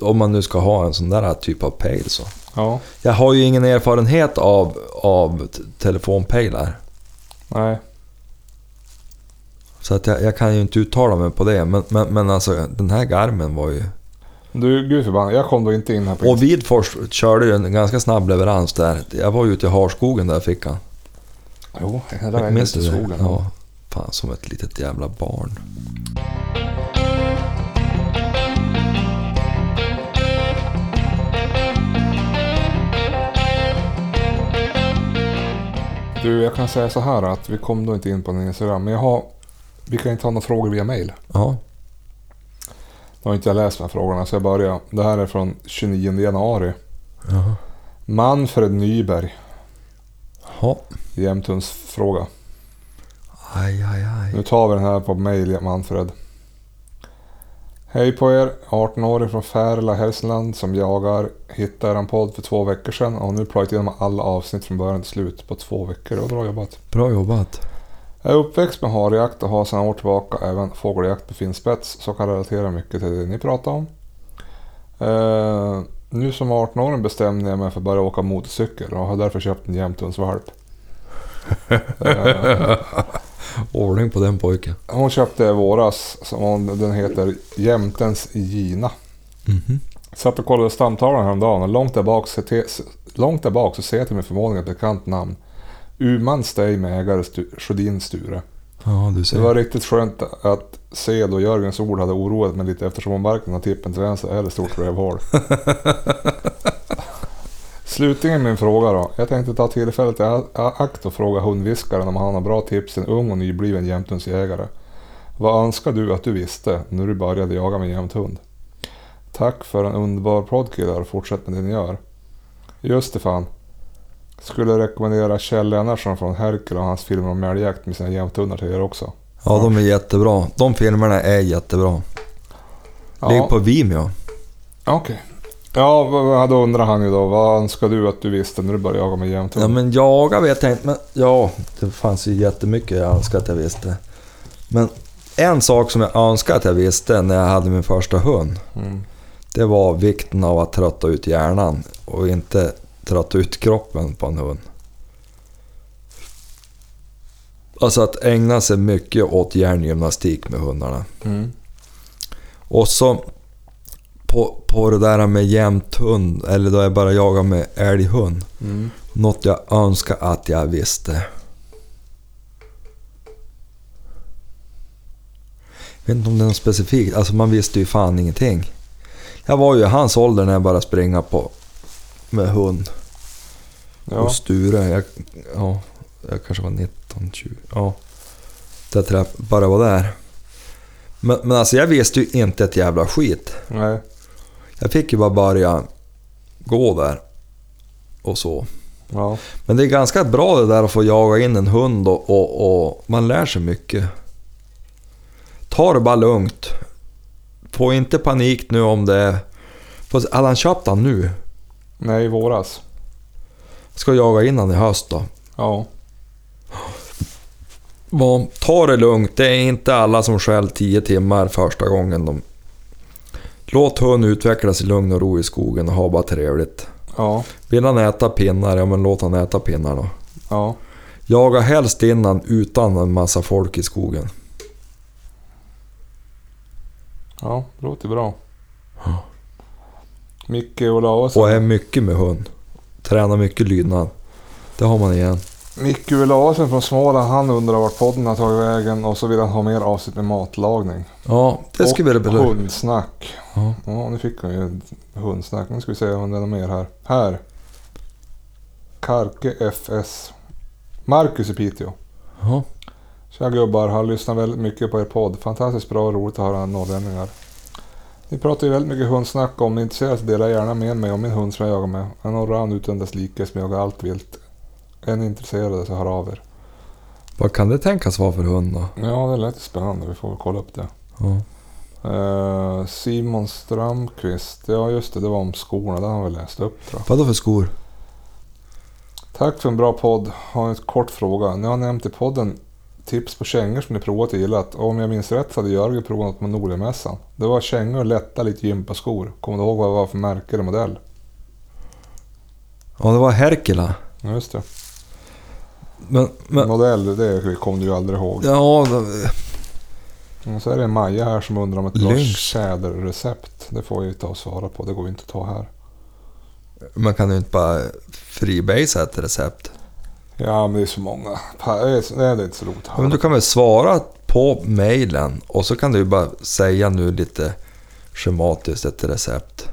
Om man nu ska ha en sån där typ av pejl så.
Ja.
Jag har ju ingen erfarenhet av, av t- telefonpejlar.
Nej.
Så att jag, jag kan ju inte uttala mig på det. Men, men, men alltså den här garmen var ju...
Du, gud förbannat. Jag kom då inte in här på...
Och Vidfors körde ju en ganska snabb leverans där. Jag var ju ute i Harskogen där jag fick han.
Jo, det där är mitt i
det?
skogen.
Ja. Fan, som ett litet jävla barn.
Du, jag kan säga så här att vi kom då inte in på din Instagram. Men jag har... Vi kan inte ha några frågor via mail.
Ja.
Jag har inte läst de här frågorna så jag börjar. Det här är från 29 januari.
Jaha.
Manfred Nyberg,
Ja.
Jämtuns fråga.
Aj, aj,
Nu
aj.
tar vi den här på mail, Manfred. Hej på er! 18-åring från Färila, Hälsingland som jagar hittade er en podd för två veckor sedan och har nu plöjt igenom alla avsnitt från början till slut på två veckor. Det var bra jobbat!
Bra jobbat.
Jag är uppväxt med harjakt och har sedan år tillbaka även fågeljakt med finspets så kan relatera mycket till det ni pratar om. Eh, nu som 18-åring bestämde jag mig för att börja åka motorcykel och har därför köpt en jämthundsvalp. Eh,
Ordning på den pojken.
hon köpte i våras, som hon, den heter Jämtens Gina.
Mhm.
Satt och kollade stamtavlan häromdagen och långt där bak, så te, s- långt där bak så ser jag till min förvåning ett bekant namn. Uman Stej med ägare Stu- Sjödin Sture.
Ja, du ser.
Det var riktigt skönt att se då Jörgens ord hade oroat mig lite eftersom hon varken har tippen till vänster eller stort rövhål. Slutligen min fråga då. Jag tänkte ta tillfället i a- a- akt och fråga hundviskaren om han har bra tips till en ung och nybliven jämthundsjägare. Vad önskar du att du visste när du började jaga med jämthund? Tack för en underbar podd killar och fortsätt med det ni gör. Just det fan. Skulle rekommendera Kjell Lennartsson från Herkel och hans filmer om älgjakt med sina jämthundar till er också.
Ja, de är jättebra. De filmerna är jättebra.
Ja,
Ligger på Vimeo.
Okej. Ja, vad- vad- då undrar han ju då. Vad önskar du att du visste när du började jaga med jämthund?
Ja, men jaga vet jag inte. Men ja, det fanns ju jättemycket jag önskade att jag visste. Men en sak som jag önskade att jag visste när jag hade min första hund.
Mm.
Det var vikten av att trötta ut hjärnan och inte trötta ut kroppen på en hund. Alltså att ägna sig mycket åt hjärngymnastik med hundarna.
Mm.
Och så på, på det där med jämt hund, eller då jag bara jagar med älghund.
Mm.
Något jag önskar att jag visste. Jag vet inte om det är något specifikt, alltså man visste ju fan ingenting. Jag var ju i hans ålder när jag bara springa på med hund
Ja.
och Sture. Jag, ja, jag kanske var 19, 20. Ja. Där jag bara var där. Men, men alltså jag visste ju inte ett jävla skit.
Nej.
Jag fick ju bara börja gå där och så.
Ja.
Men det är ganska bra det där att få jaga in en hund och, och, och man lär sig mycket. Ta det bara lugnt. Få inte panik nu om det är... Fast Hade han köpt han nu?
Nej, i våras.
Ska jaga in han i höst då?
Ja.
Ja, ta det lugnt. Det är inte alla som skäl 10 timmar första gången. De... Låt hunden utvecklas i lugn och ro i skogen och ha bara trevligt.
Ja.
Vill han äta pinnar, ja men låt han äta pinnar då.
Ja.
Jaga helst innan utan en massa folk i skogen.
Ja, det låter bra. Micke Olausson.
Och är mycket med hund. Träna mycket lydnad. Det har man igen.
Micke Olausson från Småland, han undrar vart podden har tagit vägen och så vill han ha mer avsnitt med matlagning.
Ja, det ska vi
och
väl
hundsnack.
Ja.
Ja, nu fick han ju hundsnack. Nu ska vi se om det är något mer här. Här. Karke FS. Marcus i Piteå.
Ja.
Tja gubbar, har lyssnat väldigt mycket på er podd. Fantastiskt bra och roligt att höra norrlänningar. Ni pratar ju väldigt mycket hundsnack om ni är intresserade så dela gärna med mig om min hund som jag jagar med. En allround utan dess like som jagar allt vilt. Är ni intresserade så hör av er.
Vad kan det tänkas vara för hund då?
Ja, det lät ju spännande. Vi får väl kolla upp det.
Ja.
Eh, Simon Strömqvist. Ja, just det. Det var om skorna. Det har han väl läst upp tror jag.
Vadå för skor?
Tack för en bra podd. Har en kort fråga. Ni har nämnt i podden tips på kängor som ni provat och gillat. Och om jag minns rätt så hade Jörgen provat något på Nordenmässan. Det var kängor och lätta lite gympaskor. Kommer du ihåg vad det var för märke eller modell?
Ja, det var Herkula.
Ja, just det.
Men, men,
Modell, det kom du ju aldrig ihåg.
ja, det-
Och så är det Maja här som undrar om ett bra
Lynx.
tjäderrecept. Det får jag ju ta och svara på. Det går ju inte att ta här.
man kan ju inte bara freebasea ett recept.
Ja, men det är så många. Pa- det är så- Nej, det är inte så roligt.
Ja, Men du kan väl svara på mejlen och så kan du ju bara säga nu lite schematiskt ett recept.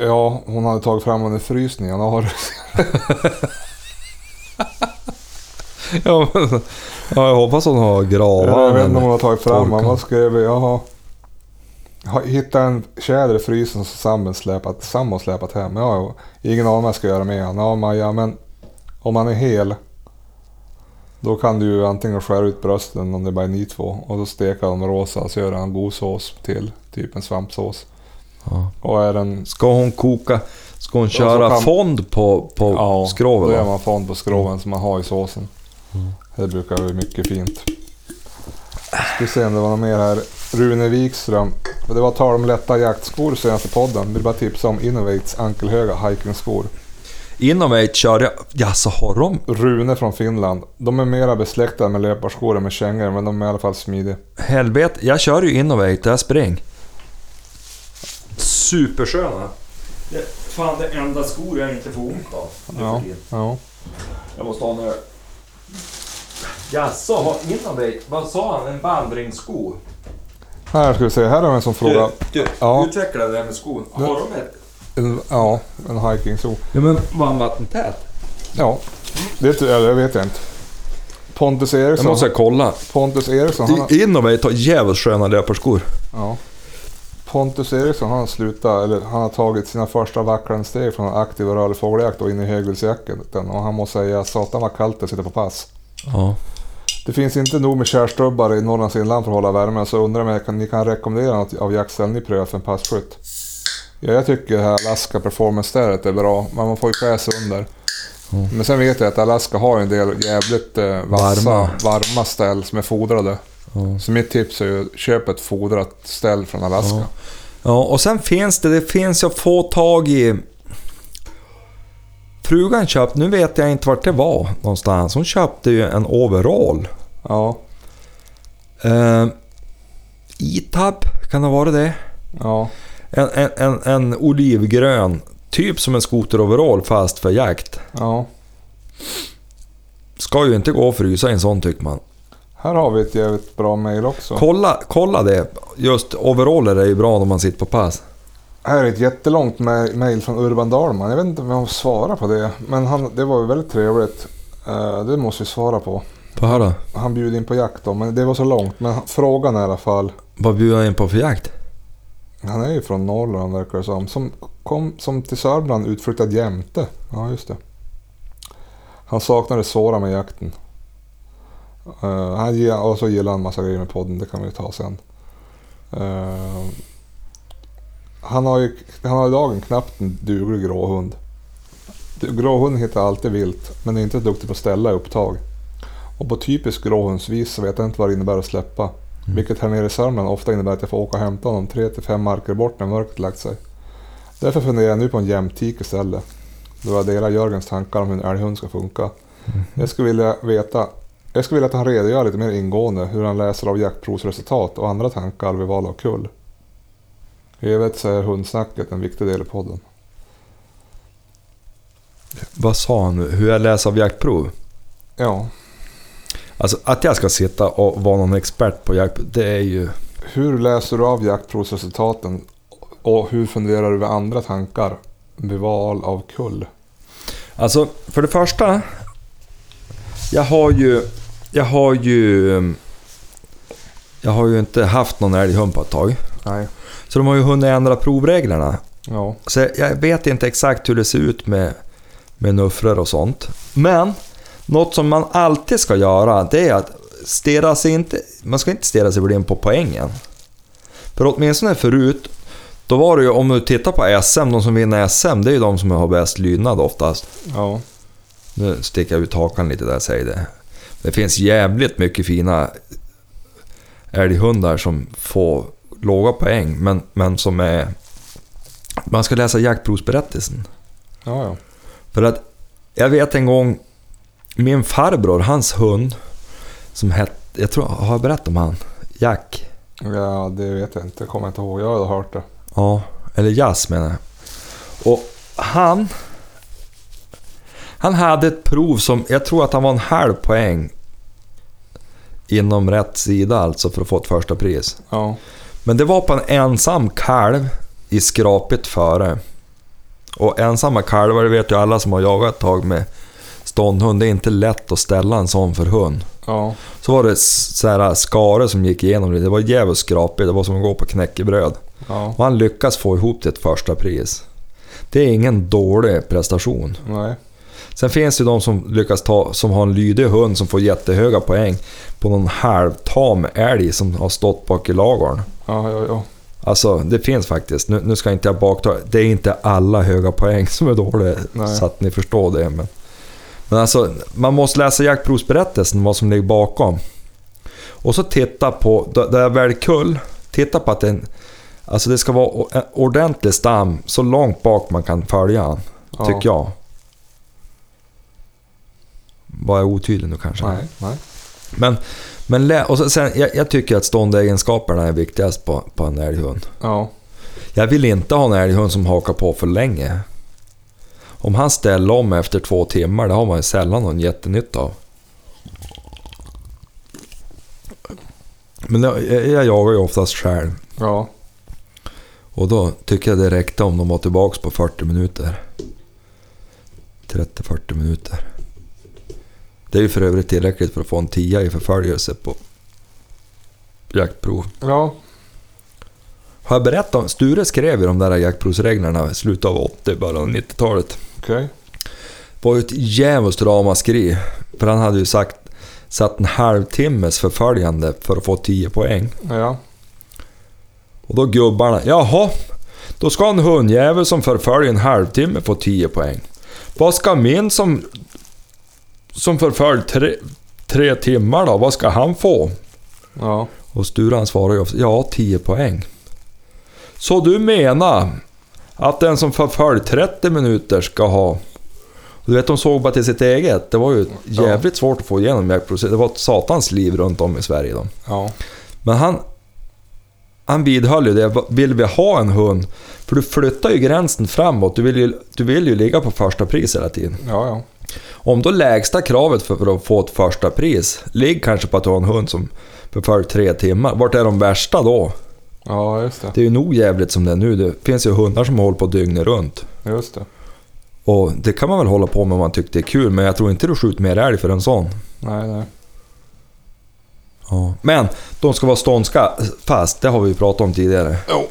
Ja, hon hade tagit fram en i frysen i januari.
Ja, men, ja jag hoppas hon har
Ja, jag
gravar.
vet inte om hon har tagit fram
torkar.
Mamma skrev jag har har- hittade en tjäder i frysen som sambon släpat, sambon släpat hem. Ja, jo. ingen aning vad jag ska göra med han. Ja, Maja, men om han är hel då kan du ju antingen skära ut brösten om det bara är ni två och då steka dem rosa så gör han god sås till, typ en svampsås.
Ja.
Och är den
Ska hon koka... Ska hon
så
köra
kan-
fond på, på skroven?
då
va? Mm.
gör man fond på skroven som man har i såsen. Det brukar bli mycket fint. Ska se om det var något mer här. Rune Wikström. Det var tal om lätta jaktskor senaste podden. Vill bara tipsa om Innovates ankelhöga hikingskor.
Inom ett kör jag... Ja, så har de...
Rune från Finland. De är mera besläktade med löparskor än med kängor men de är i alla fall smidiga.
Helvete, jag kör ju Innovate, jag spring. Supersköna.
Det, fan det enda skor jag inte får ont av.
Ja. ja.
Jag måste ha en öl. Jaså, har Innovate... Vad sa han? En vandringssko?
Här ska vi se. Här har vi en som frågar.
Du,
Ja.
utveckla det där med skon.
Har
de ett?
En- Ja, en hikingsko.
Ja men var han vattentät?
Ja, det eller, jag vet jag inte. Pontus
Det
Eriksson.
måste jag kolla.
Pontus Eriksson. Han har...
Innovate har jävligt sköna löparskor.
Ja. Pontus Eriksson han har, slutat, eller han har tagit sina första vacklande steg från aktiv och rörlig fågeljakt och in i högviltsjakten. Och han måste säga satan vad kallt det sitter på pass.
Ja.
Det finns inte nog med kärstubbar i Norrlands inland för att hålla värmen så undrar om jag kan, ni kan rekommendera något av jaktställen ni prövat för en passkytt? Ja, jag tycker det här Alaska Performance-stället är bra, men man får ju klä sig under.
Mm.
Men sen vet jag att Alaska har ju en del jävligt eh, vassa,
Varma. Mm.
varma. ställ som är fodrade.
Ja.
Så mitt tips är ju köp ett fodrat ställ från Alaska.
Ja. ja, och sen finns det, det finns att få tag i... Frugan köpte, nu vet jag inte vart det var någonstans, hon köpte ju en overall.
Ja,
Eh, E-tab, kan det vara det?
ja,
En, en, en, en olivgrön, typ som en skoteroverall fast för jakt.
ja.
Ska ju inte gå att frysa i en sån tycker man.
Här har vi ett jävligt bra mejl också.
Kolla, kolla det, just overaller är ju bra när man sitter på pass.
Här är ett jättelångt ma- mejl från Urban Dahlman. Jag vet inte om jag svarar på det, men han, det var ju väldigt trevligt. Eh, det måste vi svara på.
På höra.
Han bjöd in på jakt då, men det var så långt. Men han- frågan är i alla fall.
Vad bjuder han in på för jakt?
Han är ju från Norrland verkar det som. Som kom som till Sörmland utflyttad jämte. Ja, just det. Han saknade såra med jakten. Eh, han ge- och så gillar han massa grejer med podden, det kan vi ta sen. Eh, han, har ju, han har idag en knappt en duglig gråhund. Du- Gråhunden hittar alltid vilt, men är inte duktig på att ställa i upptag. Och på typisk gråhundsvis så vet jag inte vad det innebär att släppa. Mm. Vilket här nere i Sörmland ofta innebär att jag får åka och hämta honom 3-5 marker bort när mörkret lagt sig. Därför funderar jag nu på en jämtik istället. Då jag delar Jörgens tankar om hur en älghund ska funka. Jag skulle vilja veta jag skulle vilja att han redogör lite mer ingående hur han läser av jaktprovsresultat och andra tankar vid val av kull. I övrigt så är hundsnacket en viktig del i podden.
Vad sa han nu? Hur jag läser av jaktprov?
Ja,
Alltså att jag ska sitta och vara någon expert på jakt, det är ju...
hur läser du av jaktprovsresultaten och hur funderar du vid andra tankar vid val av kull?
Alltså, för det första. Jag har ju... Jag har ju... um, Jag har ju inte haft någon älghund på ett tag.
Nej.
Så de har ju hunnit ändra provreglerna.
Ja.
Så jag- jag vet inte exakt hur det ser ut med, med nuffror och sånt. Men något som man alltid ska göra det är att stirra sig inte, man ska inte stirra sig blind på poängen. För åtminstone förut, då var det ju om du tittar på SM, de som vinner SM det är ju de som har bäst lydnad oftast.
Ja.
Nu sticker jag ut hakan lite där säger det. Det finns jävligt mycket fina älghundar som får låga poäng men, men som är... Man ska läsa jaktprovsberättelsen.
Ja, ja.
För att jag vet en gång, min farbror, hans hund, som hette, jag tror, har jag berättat om han? Jack?
Ja, det vet jag inte. Kommer jag inte ihåg. Jag har hört det.
Ja, eller jazz menar jag. Och han... Han hade ett prov som, jag tror att han var en halv poäng inom rätt sida alltså för att få ett första pris.
Ja.
Men det var på en ensam kalv i skrapet före. Och ensamma kalvar, det vet ju alla som har jagat ett tag med ståndhund, det är inte lätt att ställa en sån för hund.
Ja.
Så var det s- så här skare som gick igenom det, det var djävulskt skrapigt, det var som att gå på knäckebröd.
Ja,
Och han lyckas få ihop till ett första pris. Det är ingen dålig prestation.
nej.
Sen finns det ju de som lyckas ta, som har en lydig hund som får jättehöga poäng på någon halvtam älg som har stått bak i lagorn.
Ja, ja, ja.
Alltså det finns faktiskt. Nu, nu ska inte jag bakta. Det är inte alla höga poäng som är dåliga,
Nej.
så att ni förstår det. Men, men alltså, man måste läsa jaktprovsberättelsen, vad som ligger bakom. Och så titta på, där där jag väl kull, titta på att den, alltså det ska vara o- en ordentlig stam så långt bak man kan följa han,
ja.
tycker jag. Var jag otydlig nu kanske?
Nej, nej.
Men, men lä- och så, sen, jag, jag tycker att ståndegenskaperna är viktigast på, på en älghund.
Ja,
Jag vill inte ha en älghund som hakar på för länge. Om han ställer om efter två timmar, det har man ju sällan någon jättenytta av. Men jag, jag- jag jagar ju oftast själv
ja.
och då tycker jag det räckte om de var tillbaks på 40 minuter. 30-40 minuter. Det är ju för övrigt tillräckligt för att få en tia i förföljelse på jaktprov.
Ja,
Har jag berättat om... Sture skrev ju de där jaktprovsreglerna i slutet av 80, början av 90-talet.
okej.
Det var ju ett djävulskt ramaskri. För han hade ju sagt... Satt en halvtimmes förföljande för att få 10 poäng.
Ja,
Och då gubbarna... Jaha! Då ska en hundjävel som förföljer en halvtimme få 10 poäng. Vad ska min som... Som förföljer tre, tre timmar då? Vad ska han få?
ja.
Och Sturan svarar ju ofta, ja 10 poäng. Så du menar att den som förföljt 30 minuter ska ha... Och Du vet, de såg bara till sitt eget. Det var ju jävligt svårt att få igenom jaktprocessen. Det var ett satans liv runt om i Sverige då.
Ja,
Men han, han vidhöll ju det. Vill vi ha en hund? För du flyttar ju gränsen framåt. Du vill ju, du vill ju ligga på första pris hela tiden.
ja, ja.
Om då lägsta kravet för- för att få ett första pris ligger kanske på att du har en hund som förföljer tre timmar. Vart är de värsta då?
Ja, just det.
Det är ju nog jävligt som det är nu. Det finns ju hundar som håller på dygnet runt.
Just det.
Och det kan man väl hålla på med om man tycker det är kul, men jag tror inte du skjuter mer älg för en sån.
Nej, nej.
Men de ska vara ståndska fast, det har vi ju pratat om tidigare.
Jo.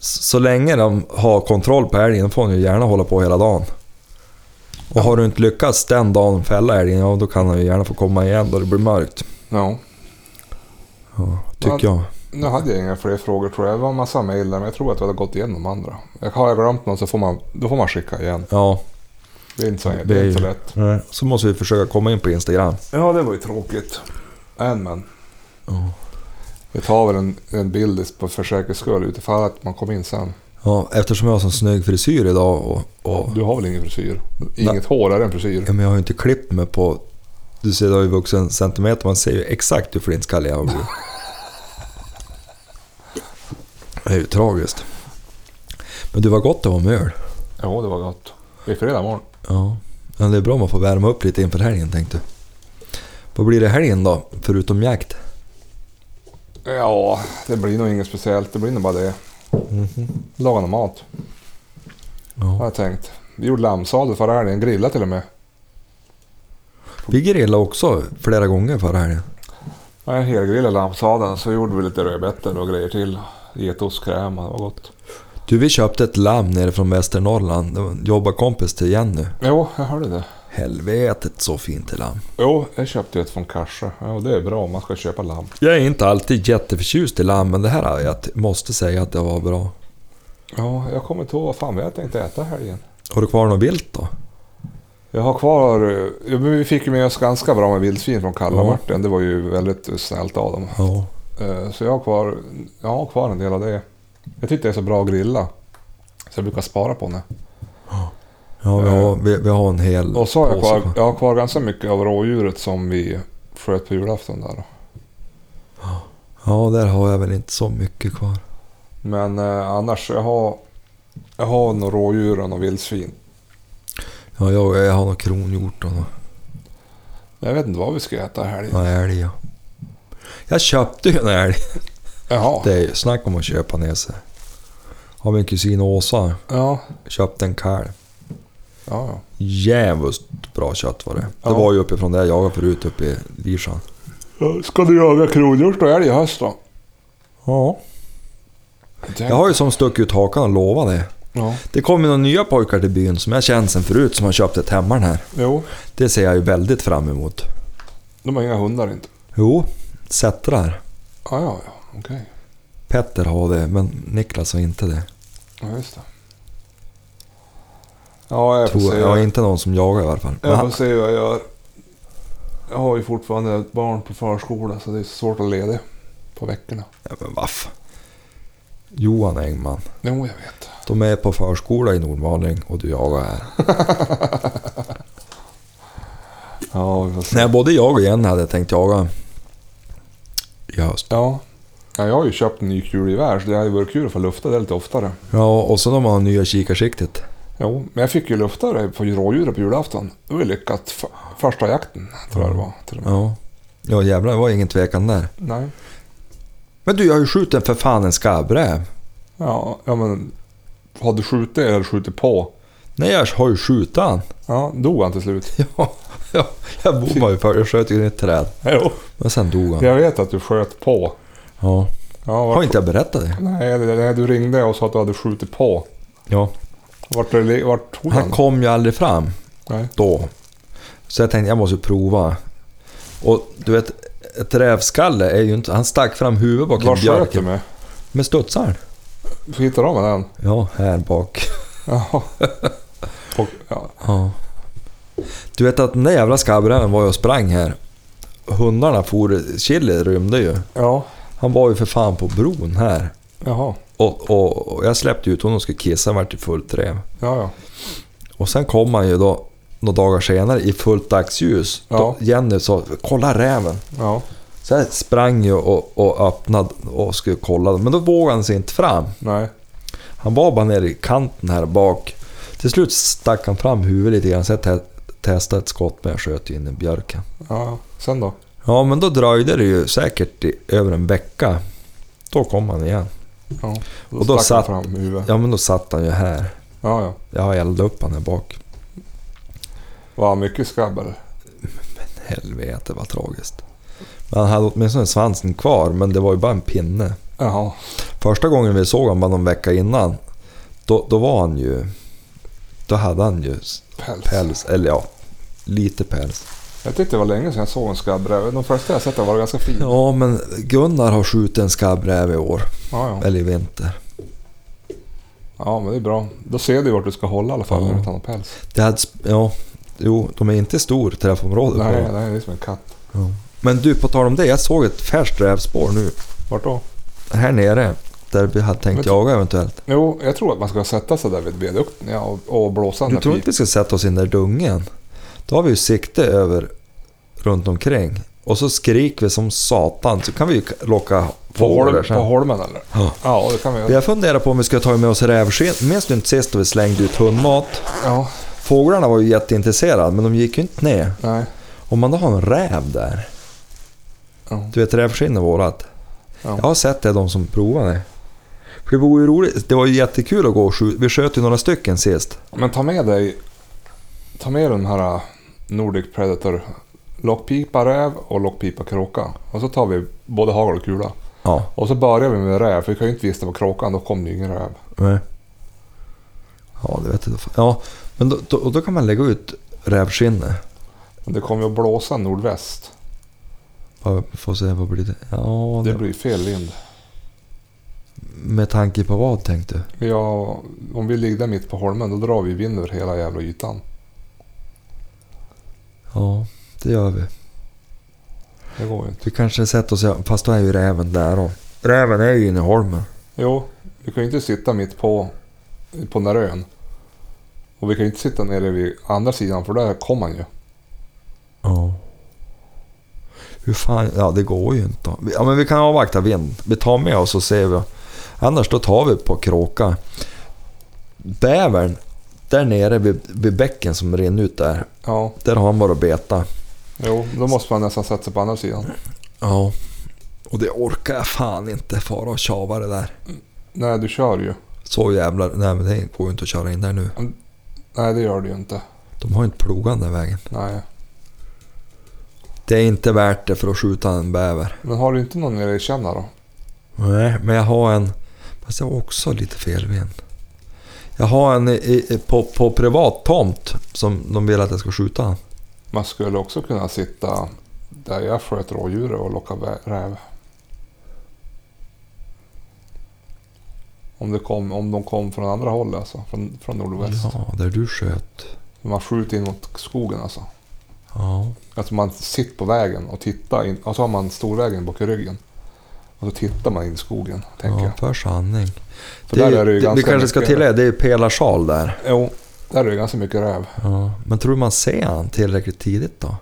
S- Så länge de har kontroll på älgen får de ju gärna hålla på hela dagen. Och har du inte lyckats den dagen fälla älgen, ja då kan han ju gärna få komma igen då det blir mörkt.
Ja.
Ja, tycker jag.
Nu hade jag inga fler frågor tror jag. Det var en massa mejl där, men jag tror att vi hade gått igenom de andra. Jag- Har jag glömt någon så får man, då får man skicka igen.
Ja,
Det är inte så,
Det är
det är inte så
ju-
lätt.
så måste vi försöka komma in på Instagram.
Ja, det var ju tråkigt. Än men.
Ja.
Vi tar väl en, en bild på- för säkerhets skull utifall att man kom in sen.
Ja, eftersom jag har sån snygg frisyr idag och, och
Du har väl ingen frisyr? Inget hår är en frisyr?
Ja, men jag har ju inte klippt mig på... Du ser, jag har ju vuxit en centimeter. Man ser ju exakt hur flintskallig jag har blivit. Det är ju tragiskt. Men du, var gott det var med öl.
Jo, det var gott. Det är fredag morgon.
Ja. Men det är bra om man får värma upp lite inför helgen, tänkte du. Vad blir det helgen då, förutom jakt?
Ja, det blir nog inget speciellt. Det blir nog bara det. Mhm. Laga någon mat, har
Ja.
jag tänkt. Vi gjorde lammsadel förra helgen. Grillade till och med.
Vi grillade också flera gånger förra helgen.
Jag helgrillade lammsadeln så gjorde vi lite rödbetor och grejer till. Getostkräm, det var gott.
Du, vi köpte ett lamm nere från Västernorrland. Det var en jobbarkompis till Jenny.
Jo, jag hörde det.
Helvetet så fint lamm.
Jo, jag köpte ett från Karsa. Jo, det är bra om man ska köpa lamm.
Jag är inte alltid jätteförtjust i lamm, men det här är jag t- måste säga att det var bra.
Ja, jag kommer inte ihåg vad fan vi hade tänkt äta här igen.
Har du kvar något vilt då?
Jag har kvar... eh, Ja, men vi fick ju med oss ganska bra med vildsvin från
Ja.
Kallamarten. Det var ju väldigt snällt av dem.
Ja.
Eh, Så jag har, kvar, jag har kvar en del av det. Jag tycker det är så bra att grilla. Så jag brukar spara på det.
Ja, vi
Eh.
har, vi, vi har en hel
Och så har jag
påse
kvar, jag har kvar ganska mycket av rådjuret som vi sköt på julafton där. då.
Ja, där har jag väl inte så mycket kvar.
Men eh, annars, jag har, jag har nog rådjur och något vildsvin.
Ja, jag, jag har nog kronhjort och något.
Jag vet inte vad vi ska äta här.
någon älg. ja. Jag köpte ju en älg.
Jaha.
Det är ju snack om att köpa ner sig. Har min kusin Åsa
Ja,
köpt en kalv.
ja, ja.
Jävligt bra kött var det.
Ja.
Det var ju uppifrån där jag jagade förut, uppe i Virsjan.
Ja, Ska du jaga kronhjort och älg i höst då?
Ja. Jag har ju som stuckit ut hakan och lovat det.
Ja.
Det kommer några nya pojkar till byn som jag känner sen förut som har köpt ett hemman här.
Jo,
Det ser jag ju väldigt fram emot.
de har inga hundar inte.
Jo, Sättrar.
Ah, ja, ja, okej.
Petter har det, men Niklas har inte det.
Ja, just det. Ja, jag får
Tror
se.
jag. jag har inte någon som jagar i alla fall. Men
Jag får
han,
se vad jag gör. Jag har ju fortfarande ett barn på förskola så det är svårt att leda på veckorna.
ja, men vaff. Johan Engman.
Jo, jag vet.
De är på förskola i Nordmaling och du jagar här.
Ja, vi får se.
Nej, både jag och Jenny hade tänkt jaga i höst.
Ja. ja, jag har ju köpt en ny kulgevär så det hade ju varit kul att få lufta det lite oftare.
Ja, och så de har nya kikarsiktet.
Jo, men jag fick ju lufta det på rådjuret på julafton. Det var ju lyckat. F- Första jakten tror jag det var. Till och med.
Ja. Ja jävlar, det var ingen tvekan där.
Nej.
Men du, jag har ju skjutit för fan en skabbräv.
Ja, ja, men har du skjutit eller skjutit på?
Nej, jag har ju skjutit han.
Ja, dog han till slut?
Ja, ja, jag bommade ju för jag sköt ju i ett träd.
Jo.
Men sen dog han.
Jag vet att du sköt på.
Ja.
Ja,
Har
vart...
inte jag berättat det?
Nej, det- det- du ringde och sa att du hade skjutit på.
Ja.
Vart, det li- vart tog
Han
han?
kom ju aldrig fram
Nej.
då. Så jag tänkte, jag måste ju prova. Och du vet, ett rävskalle är ju inte... Han stack fram huvudet bakom
Vart sköt du
björken.
med?
Med studsaren.
Hittade de den?
Ja, här bak.
Jaha. Och, ja.
Ja. Du vet att den där jävla skabbräven var jag och sprang här. Hundarna for... Chili rymde ju.
ja.
Han var ju för fan på bron här.
Jaha.
Och, och, och jag släppte ut honom och skulle kissa, han vart i fullt räv.
Ja, ja.
Och sen kom han ju då några dagar senare i fullt dagsljus. Då
Ja.
Jenny sa “Kolla räven!”
Ja.
Så jag sprang ju och, och öppnade och skulle kolla. Men då vågade han sig inte fram.
Nej.
Han var bara nere i kanten här bak. Till slut stack han fram huvudet lite grann. Så jag te- testade ett skott men jag sköt ju in i björken.
Ja, ja. Sen då?
Ja men då dröjde det ju säkert i, över en vecka. Då kom han igen.
Ja.
Och då
stack
satt-
han fram huvudet.
Ja men då satt han ju här.
Ja, ja.
Jag har eldat upp han här bak.
Var han mycket skabb eller?
Helvete vad tragiskt. Men han hade åtminstone svansen kvar men det var ju bara en pinne.
Jaha.
Första gången vi såg honom bara någon vecka innan. Då, då var han ju... Då hade han ju s-
Päls.
päls, eller ja, lite päls.
Jag tyckte det var länge sedan jag såg en skabbräv. De flesta jag sett har varit ganska fin. Ja,
Ja, men Gunnar har skjutit en skabbräv i år,
ja.
eller i vinter.
ja, men det är bra. Då ser du vart du ska hålla i alla fall
Ja.
när du inte har någon päls.
Det hade, sp- ja, jo, de är inte stor träffområde på
Nej,
dem.
nej, det är som en katt.
Men du, på tal om det, jag såg ett färskt rävspår nu.
Vart då?
Här nere, där vi hade tänkt
Vet-
jaga eventuellt.
Jo, jag tror att man ska sätta sig där vid viadukten ja, och, och blåsa den
Du
där
tror inte vi ska sätta oss in där i dungen? Då har vi ju sikte över runt omkring. Och så skriker vi som satan, så kan vi ju k- locka
på,
fåglar där
holm, på
sen.
holmen eller?
Ja.
Ja, det kan vi göra.
Jag funderar på om vi ska ta med oss rävskinn. Minns du inte sist då vi slängde ut hundmat?
Ja,
Fåglarna var ju jätteintresserade, men de gick ju inte ner.
nej.
Om man då har en räv där.
Ja.
Du vet, rävskinn är vårat.
Ja.
Jag har sett det, de som provar det. För det vore ju roligt. Det var ju jättekul att gå och skjuta. Vi sköt ju några stycken sist.
Men ta med dig... Ta med den här äh, Nordic Predator. Lockpipa räv och lockpipa kråka. Och så tar vi både hagel och kula.
Ja.
Och så börjar vi med räv, för vi kan ju inte visa på kråkan, då kom det ju ingen räv.
Nej. Ja, det vet jag. Ja, men då, då, och då kan man lägga ut rävskinne.
Men det kommer ju att blåsa nordväst.
Bara Få se vad blir det? Ja,
Det
det,
blir fel vind.
med tanke på vad tänkte du?
Ja, om vi ligger där mitt på holmen då drar vi vind över hela jävla ytan.
Ja, det gör vi.
Det går ju inte.
Vi kanske sätter oss... Fast då är ju räven där då. Räven är ju inne i holmen.
Jo, vi kan ju inte sitta mitt på, på den där ön. Och vi kan ju inte sitta nere vid andra sidan för där kom han ju.
Ja. Hur fan, ja det går ju inte. Vi- Ja, men vi kan avvakta vind. Vi tar med oss och ser vi. Annars då tar vi på kråka. Bävern, där nere vid, vid bäcken som rinner ut där.
Ja,
Där har han bara beta.
jo, då måste man nästan sätta sig på andra sidan.
Ja. Och det orkar jag fan inte fara och tjava det där.
Nej, du kör ju.
Så jävlar, nej men det går ju inte att köra in där nu.
Nej, det gör du ju inte.
De har ju inte plogat den där vägen.
Nej.
Det är inte värt det för att skjuta en bäver.
Men har du inte någon nere i Känna då?
Nej, men jag har en... Fast jag har också lite felven. Jag har en i- i- på, på privat tomt som de vill att jag ska skjuta.
Man skulle också kunna sitta där jag sköt rådjur och locka vä- räv. Om, det kom, om de kom från andra hållet alltså, från, från nordväst.
Ja, där du sköt.
Man skjuter in mot skogen alltså.
Ja.
Alltså man sitter på vägen och tittar in och så har man storvägen bak i ryggen. Och så tittar man in i skogen, tänker
ja, för sanning.
jag. För där är det ju
vi
ganska
kanske ska
mycket-
tillägga, det är pelarsal där.
Jo, där är det ganska mycket räv.
Ja. Men tror du man ser han tillräckligt tidigt då?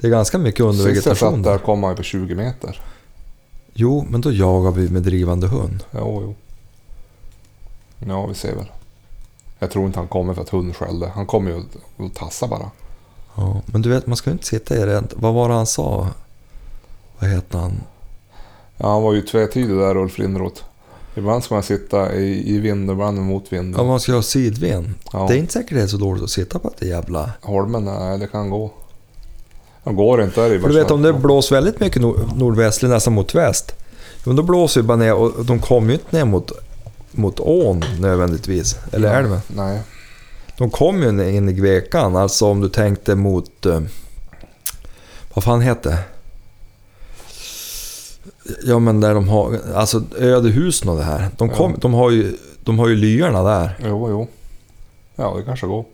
Det är ganska mycket
Sist jag
undervegetation
satt där
där.
kom man ju på 20 meter.
Jo, men då jagar vi med drivande hund.
Jo, jo. Ja, vi ser väl. Jag tror inte han kommer för att hunden skällde. Han kommer ju och tassade bara.
Ja. Men du vet, man ska ju inte sitta i det. Vad var det han sa? Vad heter han?
Ja, han var ju tvetydig där, Ulf Lindroth. Ibland ska man sitta i, i vind och ibland mot
Ja,
vinden.
man ska ha sidven.
Ja,
Det är inte säkert det är så dåligt att sitta på det jävla...
Holmen, nej det kan gå. Han går inte där i
För du vet om det blåser väldigt mycket nor- nordväst, eller nästan mot väst. jo, Men då blåser ju bara ner och de kommer ju inte ner mot, mot ån nödvändigtvis. Eller älven.
Nej.
De kommer ju ner in i Gvekan, alltså om du tänkte mot... eh, Vad fan heter det? Ja men där de har, alltså ödehusen och det här. De, kom,
Ja.
de har ju, de har ju lyarna där.
Jo, jo. Ja, det kanske går.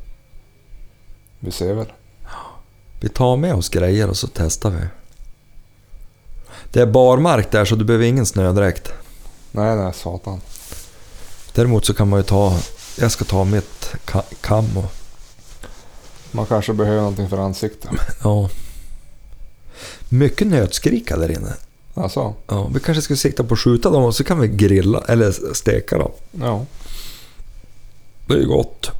Vi ser väl.
Vi tar med oss grejer och så testar vi. Det är barmark där så du behöver ingen snödräkt.
Nej, nej, satan.
Däremot så kan man ju ta, jag ska ta mitt ka- kam och...
Man kanske behöver någonting för ansiktet.
Ja. Mycket nötskrika där inne.
Alltså,
Ja, vi kanske ska sikta på att skjuta dem och så kan vi grilla eller steka dem.
ja.
Det är ju gott.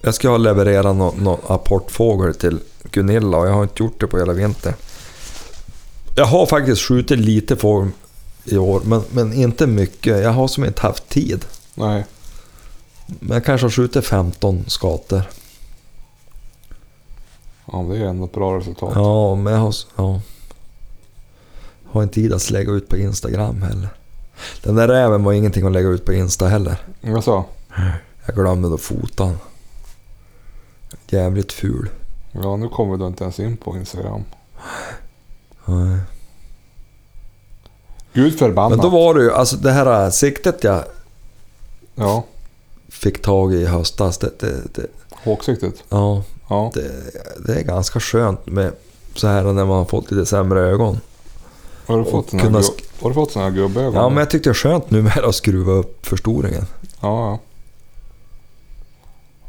Jag ska leverera någon nå apportfågel till Gunilla och jag har inte gjort det på hela vintern. Jag har faktiskt skjutit lite fågel i år, men, men inte mycket. Jag har som inte haft tid.
Nej.
Men jag kanske har skjutit 15 skator.
Ja, men det är ju ändå ett bra resultat.
Ja, men jag har, ja. har inte tid att lägga ut på Instagram heller. Den där räven var ingenting att lägga ut på Insta heller.
Alltså,
Jag glömde då fotan. Jävligt ful.
ja, nu kommer du inte ens in på Instagram.
Nej.
Gud förbannat.
Men då var det ju, alltså det här siktet jag
Ja,
fick tag i i höstas. Det, det, det,
håksiktigt.
ja,
Ja,
det, det är ganska skönt med så här när man har fått lite sämre ögon.
har du fått
och
såna här
kunna
gu- har du fått såna här gubbögon?
Ja, men jag tyckte det är skönt nu med att skruva upp förstoringen.
ja, ja.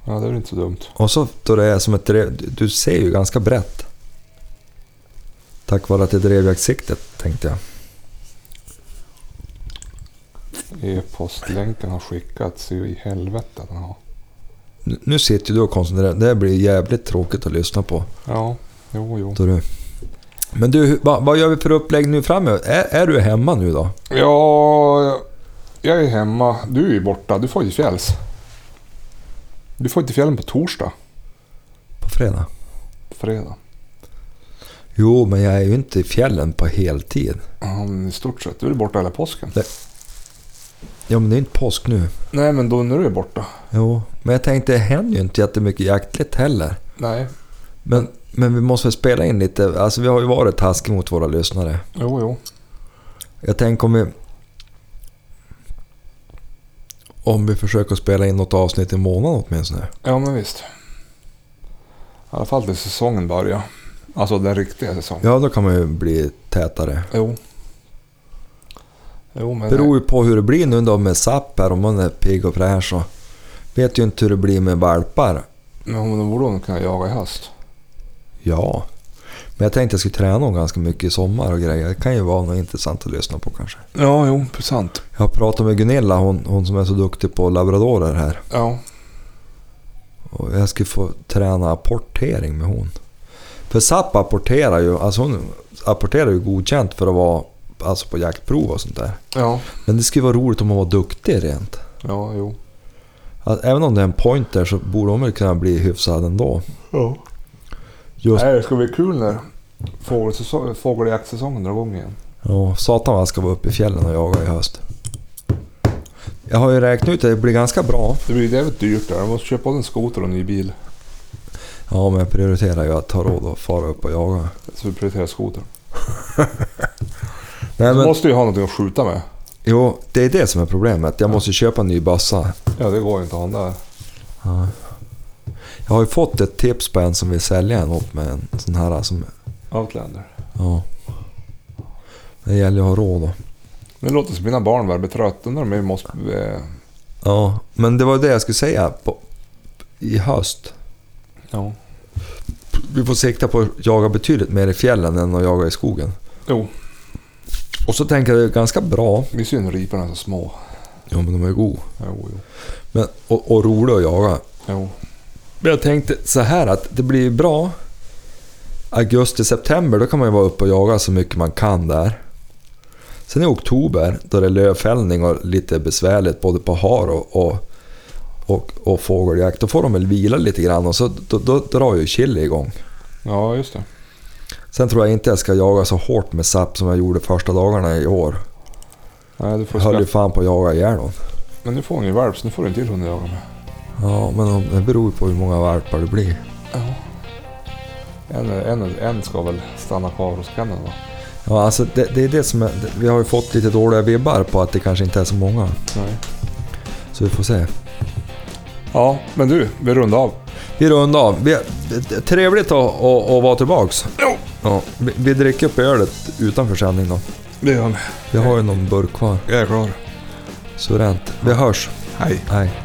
Ja, det är väl inte så dumt.
Och så då det är som ett drev, du- du ser ju ganska brett. Tack vare att det är drevjaktssiktet tänkte jag.
E-postlänken har skickats ju i helvete att den har.
Nu- Nu sitter ju du och koncentrerar Det här blir jävligt tråkigt att lyssna på.
Ja, jo, jo.
Då du. Men du, hur- vad, vad gör vi för upplägg nu framöver? Är, är du hemma nu då?
Ja, jag är hemma. Du är ju borta. Du får ju fjälls. Du får inte fjällen på torsdag,
På fredag?
på fredag.
Jo, men jag är ju inte i fjällen på heltid.
Ja, men I stort sett. Du är borta hela påsken.
Ja, men det är inte påsk nu.
Nej, men då när du är borta.
Jo, men jag tänkte det händer ju inte jättemycket jaktligt heller.
Nej,
Men, men vi måste väl spela in lite. Alltså vi har ju varit taskiga mot våra lyssnare.
jo, jo.
Jag tänker om vi... Om vi försöker spela in något avsnitt i månaden åtminstone.
Ja, men visst. I alla fall till säsongen börjar. Alltså den riktiga säsongen.
Ja, då kan man ju bli tätare.
Jo. Jo, men...
Det beror ju på hur det blir nu då med SAP här, om man är pigg och fräsch och... Vet ju inte hur det blir med valpar.
Men då borde hon kunna jaga i höst.
Ja. Men jag tänkte jag skulle träna dem ganska mycket i sommar och grejer. Det kan ju vara något intressant att lyssna på kanske.
Ja, jo, sant.
Jag har pratat med Gunilla, hon, hon som är så duktig på labradorer här.
Ja,
Och jag skulle få träna apportering med hon. För SAP apporterar ju, alltså hon apporterar ju godkänt för att vara alltså på jaktprov och sånt där.
ja,
Men det skulle vara roligt om hon var duktig rent.
ja, jo.
Alltså, även om det är en pointer så borde hon väl kunna bli hyfsad ändå.
Ja.
Just,
Nej, det ska bli kul när fågelsäsong- fågeljaktsäsongen drar igång igen.
ja, satan vad jag ska vara uppe i fjällen och jaga i höst. Jag har ju räknat ut att det blir ganska bra.
Det blir jävligt dyrt där. Jag måste köpa både en skoter och en ny bil.
Ja, men jag prioriterar ju att ha råd att fara upp och jaga.
Så vi prioriterar skotern.
Nej,
Du
men,
måste ju ha någonting att skjuta med.
jo, det är det som är problemet. Jag måste köpa en ny bössa.
Ja, det går ju inte att ha den där.
Jag har ju fått ett tips på en som vill sälja en åt mig. En sån här som...
Outlander.
Ja. Det gäller ju att ha råd då.
Nu låter som mina barn vara betrötta när de måste... Eh,
Ja, men det var det jag skulle säga. På, I höst.
ja.
Vi får sikta på att jaga betydligt mer i fjällen än att jaga i skogen.
Jo,
Och så tänker jag det är ganska bra.
det är synd riporna är så små.
Ja, men de är ju goda.
Jo, jo.
Men, och, och roliga att jaga.
jo.
Men jag tänkte så här att det blir ju bra augusti-september, då kan man ju vara uppe och jaga så mycket man kan där. Sen i oktober, då det är lövfällning och lite besvärligt både på har och, och, och, och fågeljakt, då får de väl vila lite grann och så då, då drar ju chili igång.
Ja, just det.
Sen tror jag inte jag ska jaga så hårt med sapp som jag gjorde första dagarna i år.
Nej, du får
Jag höll ju
skaffa.
fan på att jaga ihjäl dem.
Men nu får hon ju valp, så nu får du en till hund att jaga med.
Ja, men det beror ju på hur många valpar det blir.
En, en, en ska väl stanna kvar hos grannen va?
Ja, alltså det, det är det som är, Vi har ju fått lite dåliga vibbar på att det kanske inte är så många.
Nej.
Så vi får se.
Ja, men du, vi rundar av.
Vi rundar av. Vi, det- det- trevligt att, att, att vara tillbaks.
Jo.
Ja, vi, vi dricker upp ölet utan försäljning då.
Det gör vi.
Vi har ju någon burk kvar.
Jag är klar.
Suveränt. Vi hörs.
Hej.
Hej.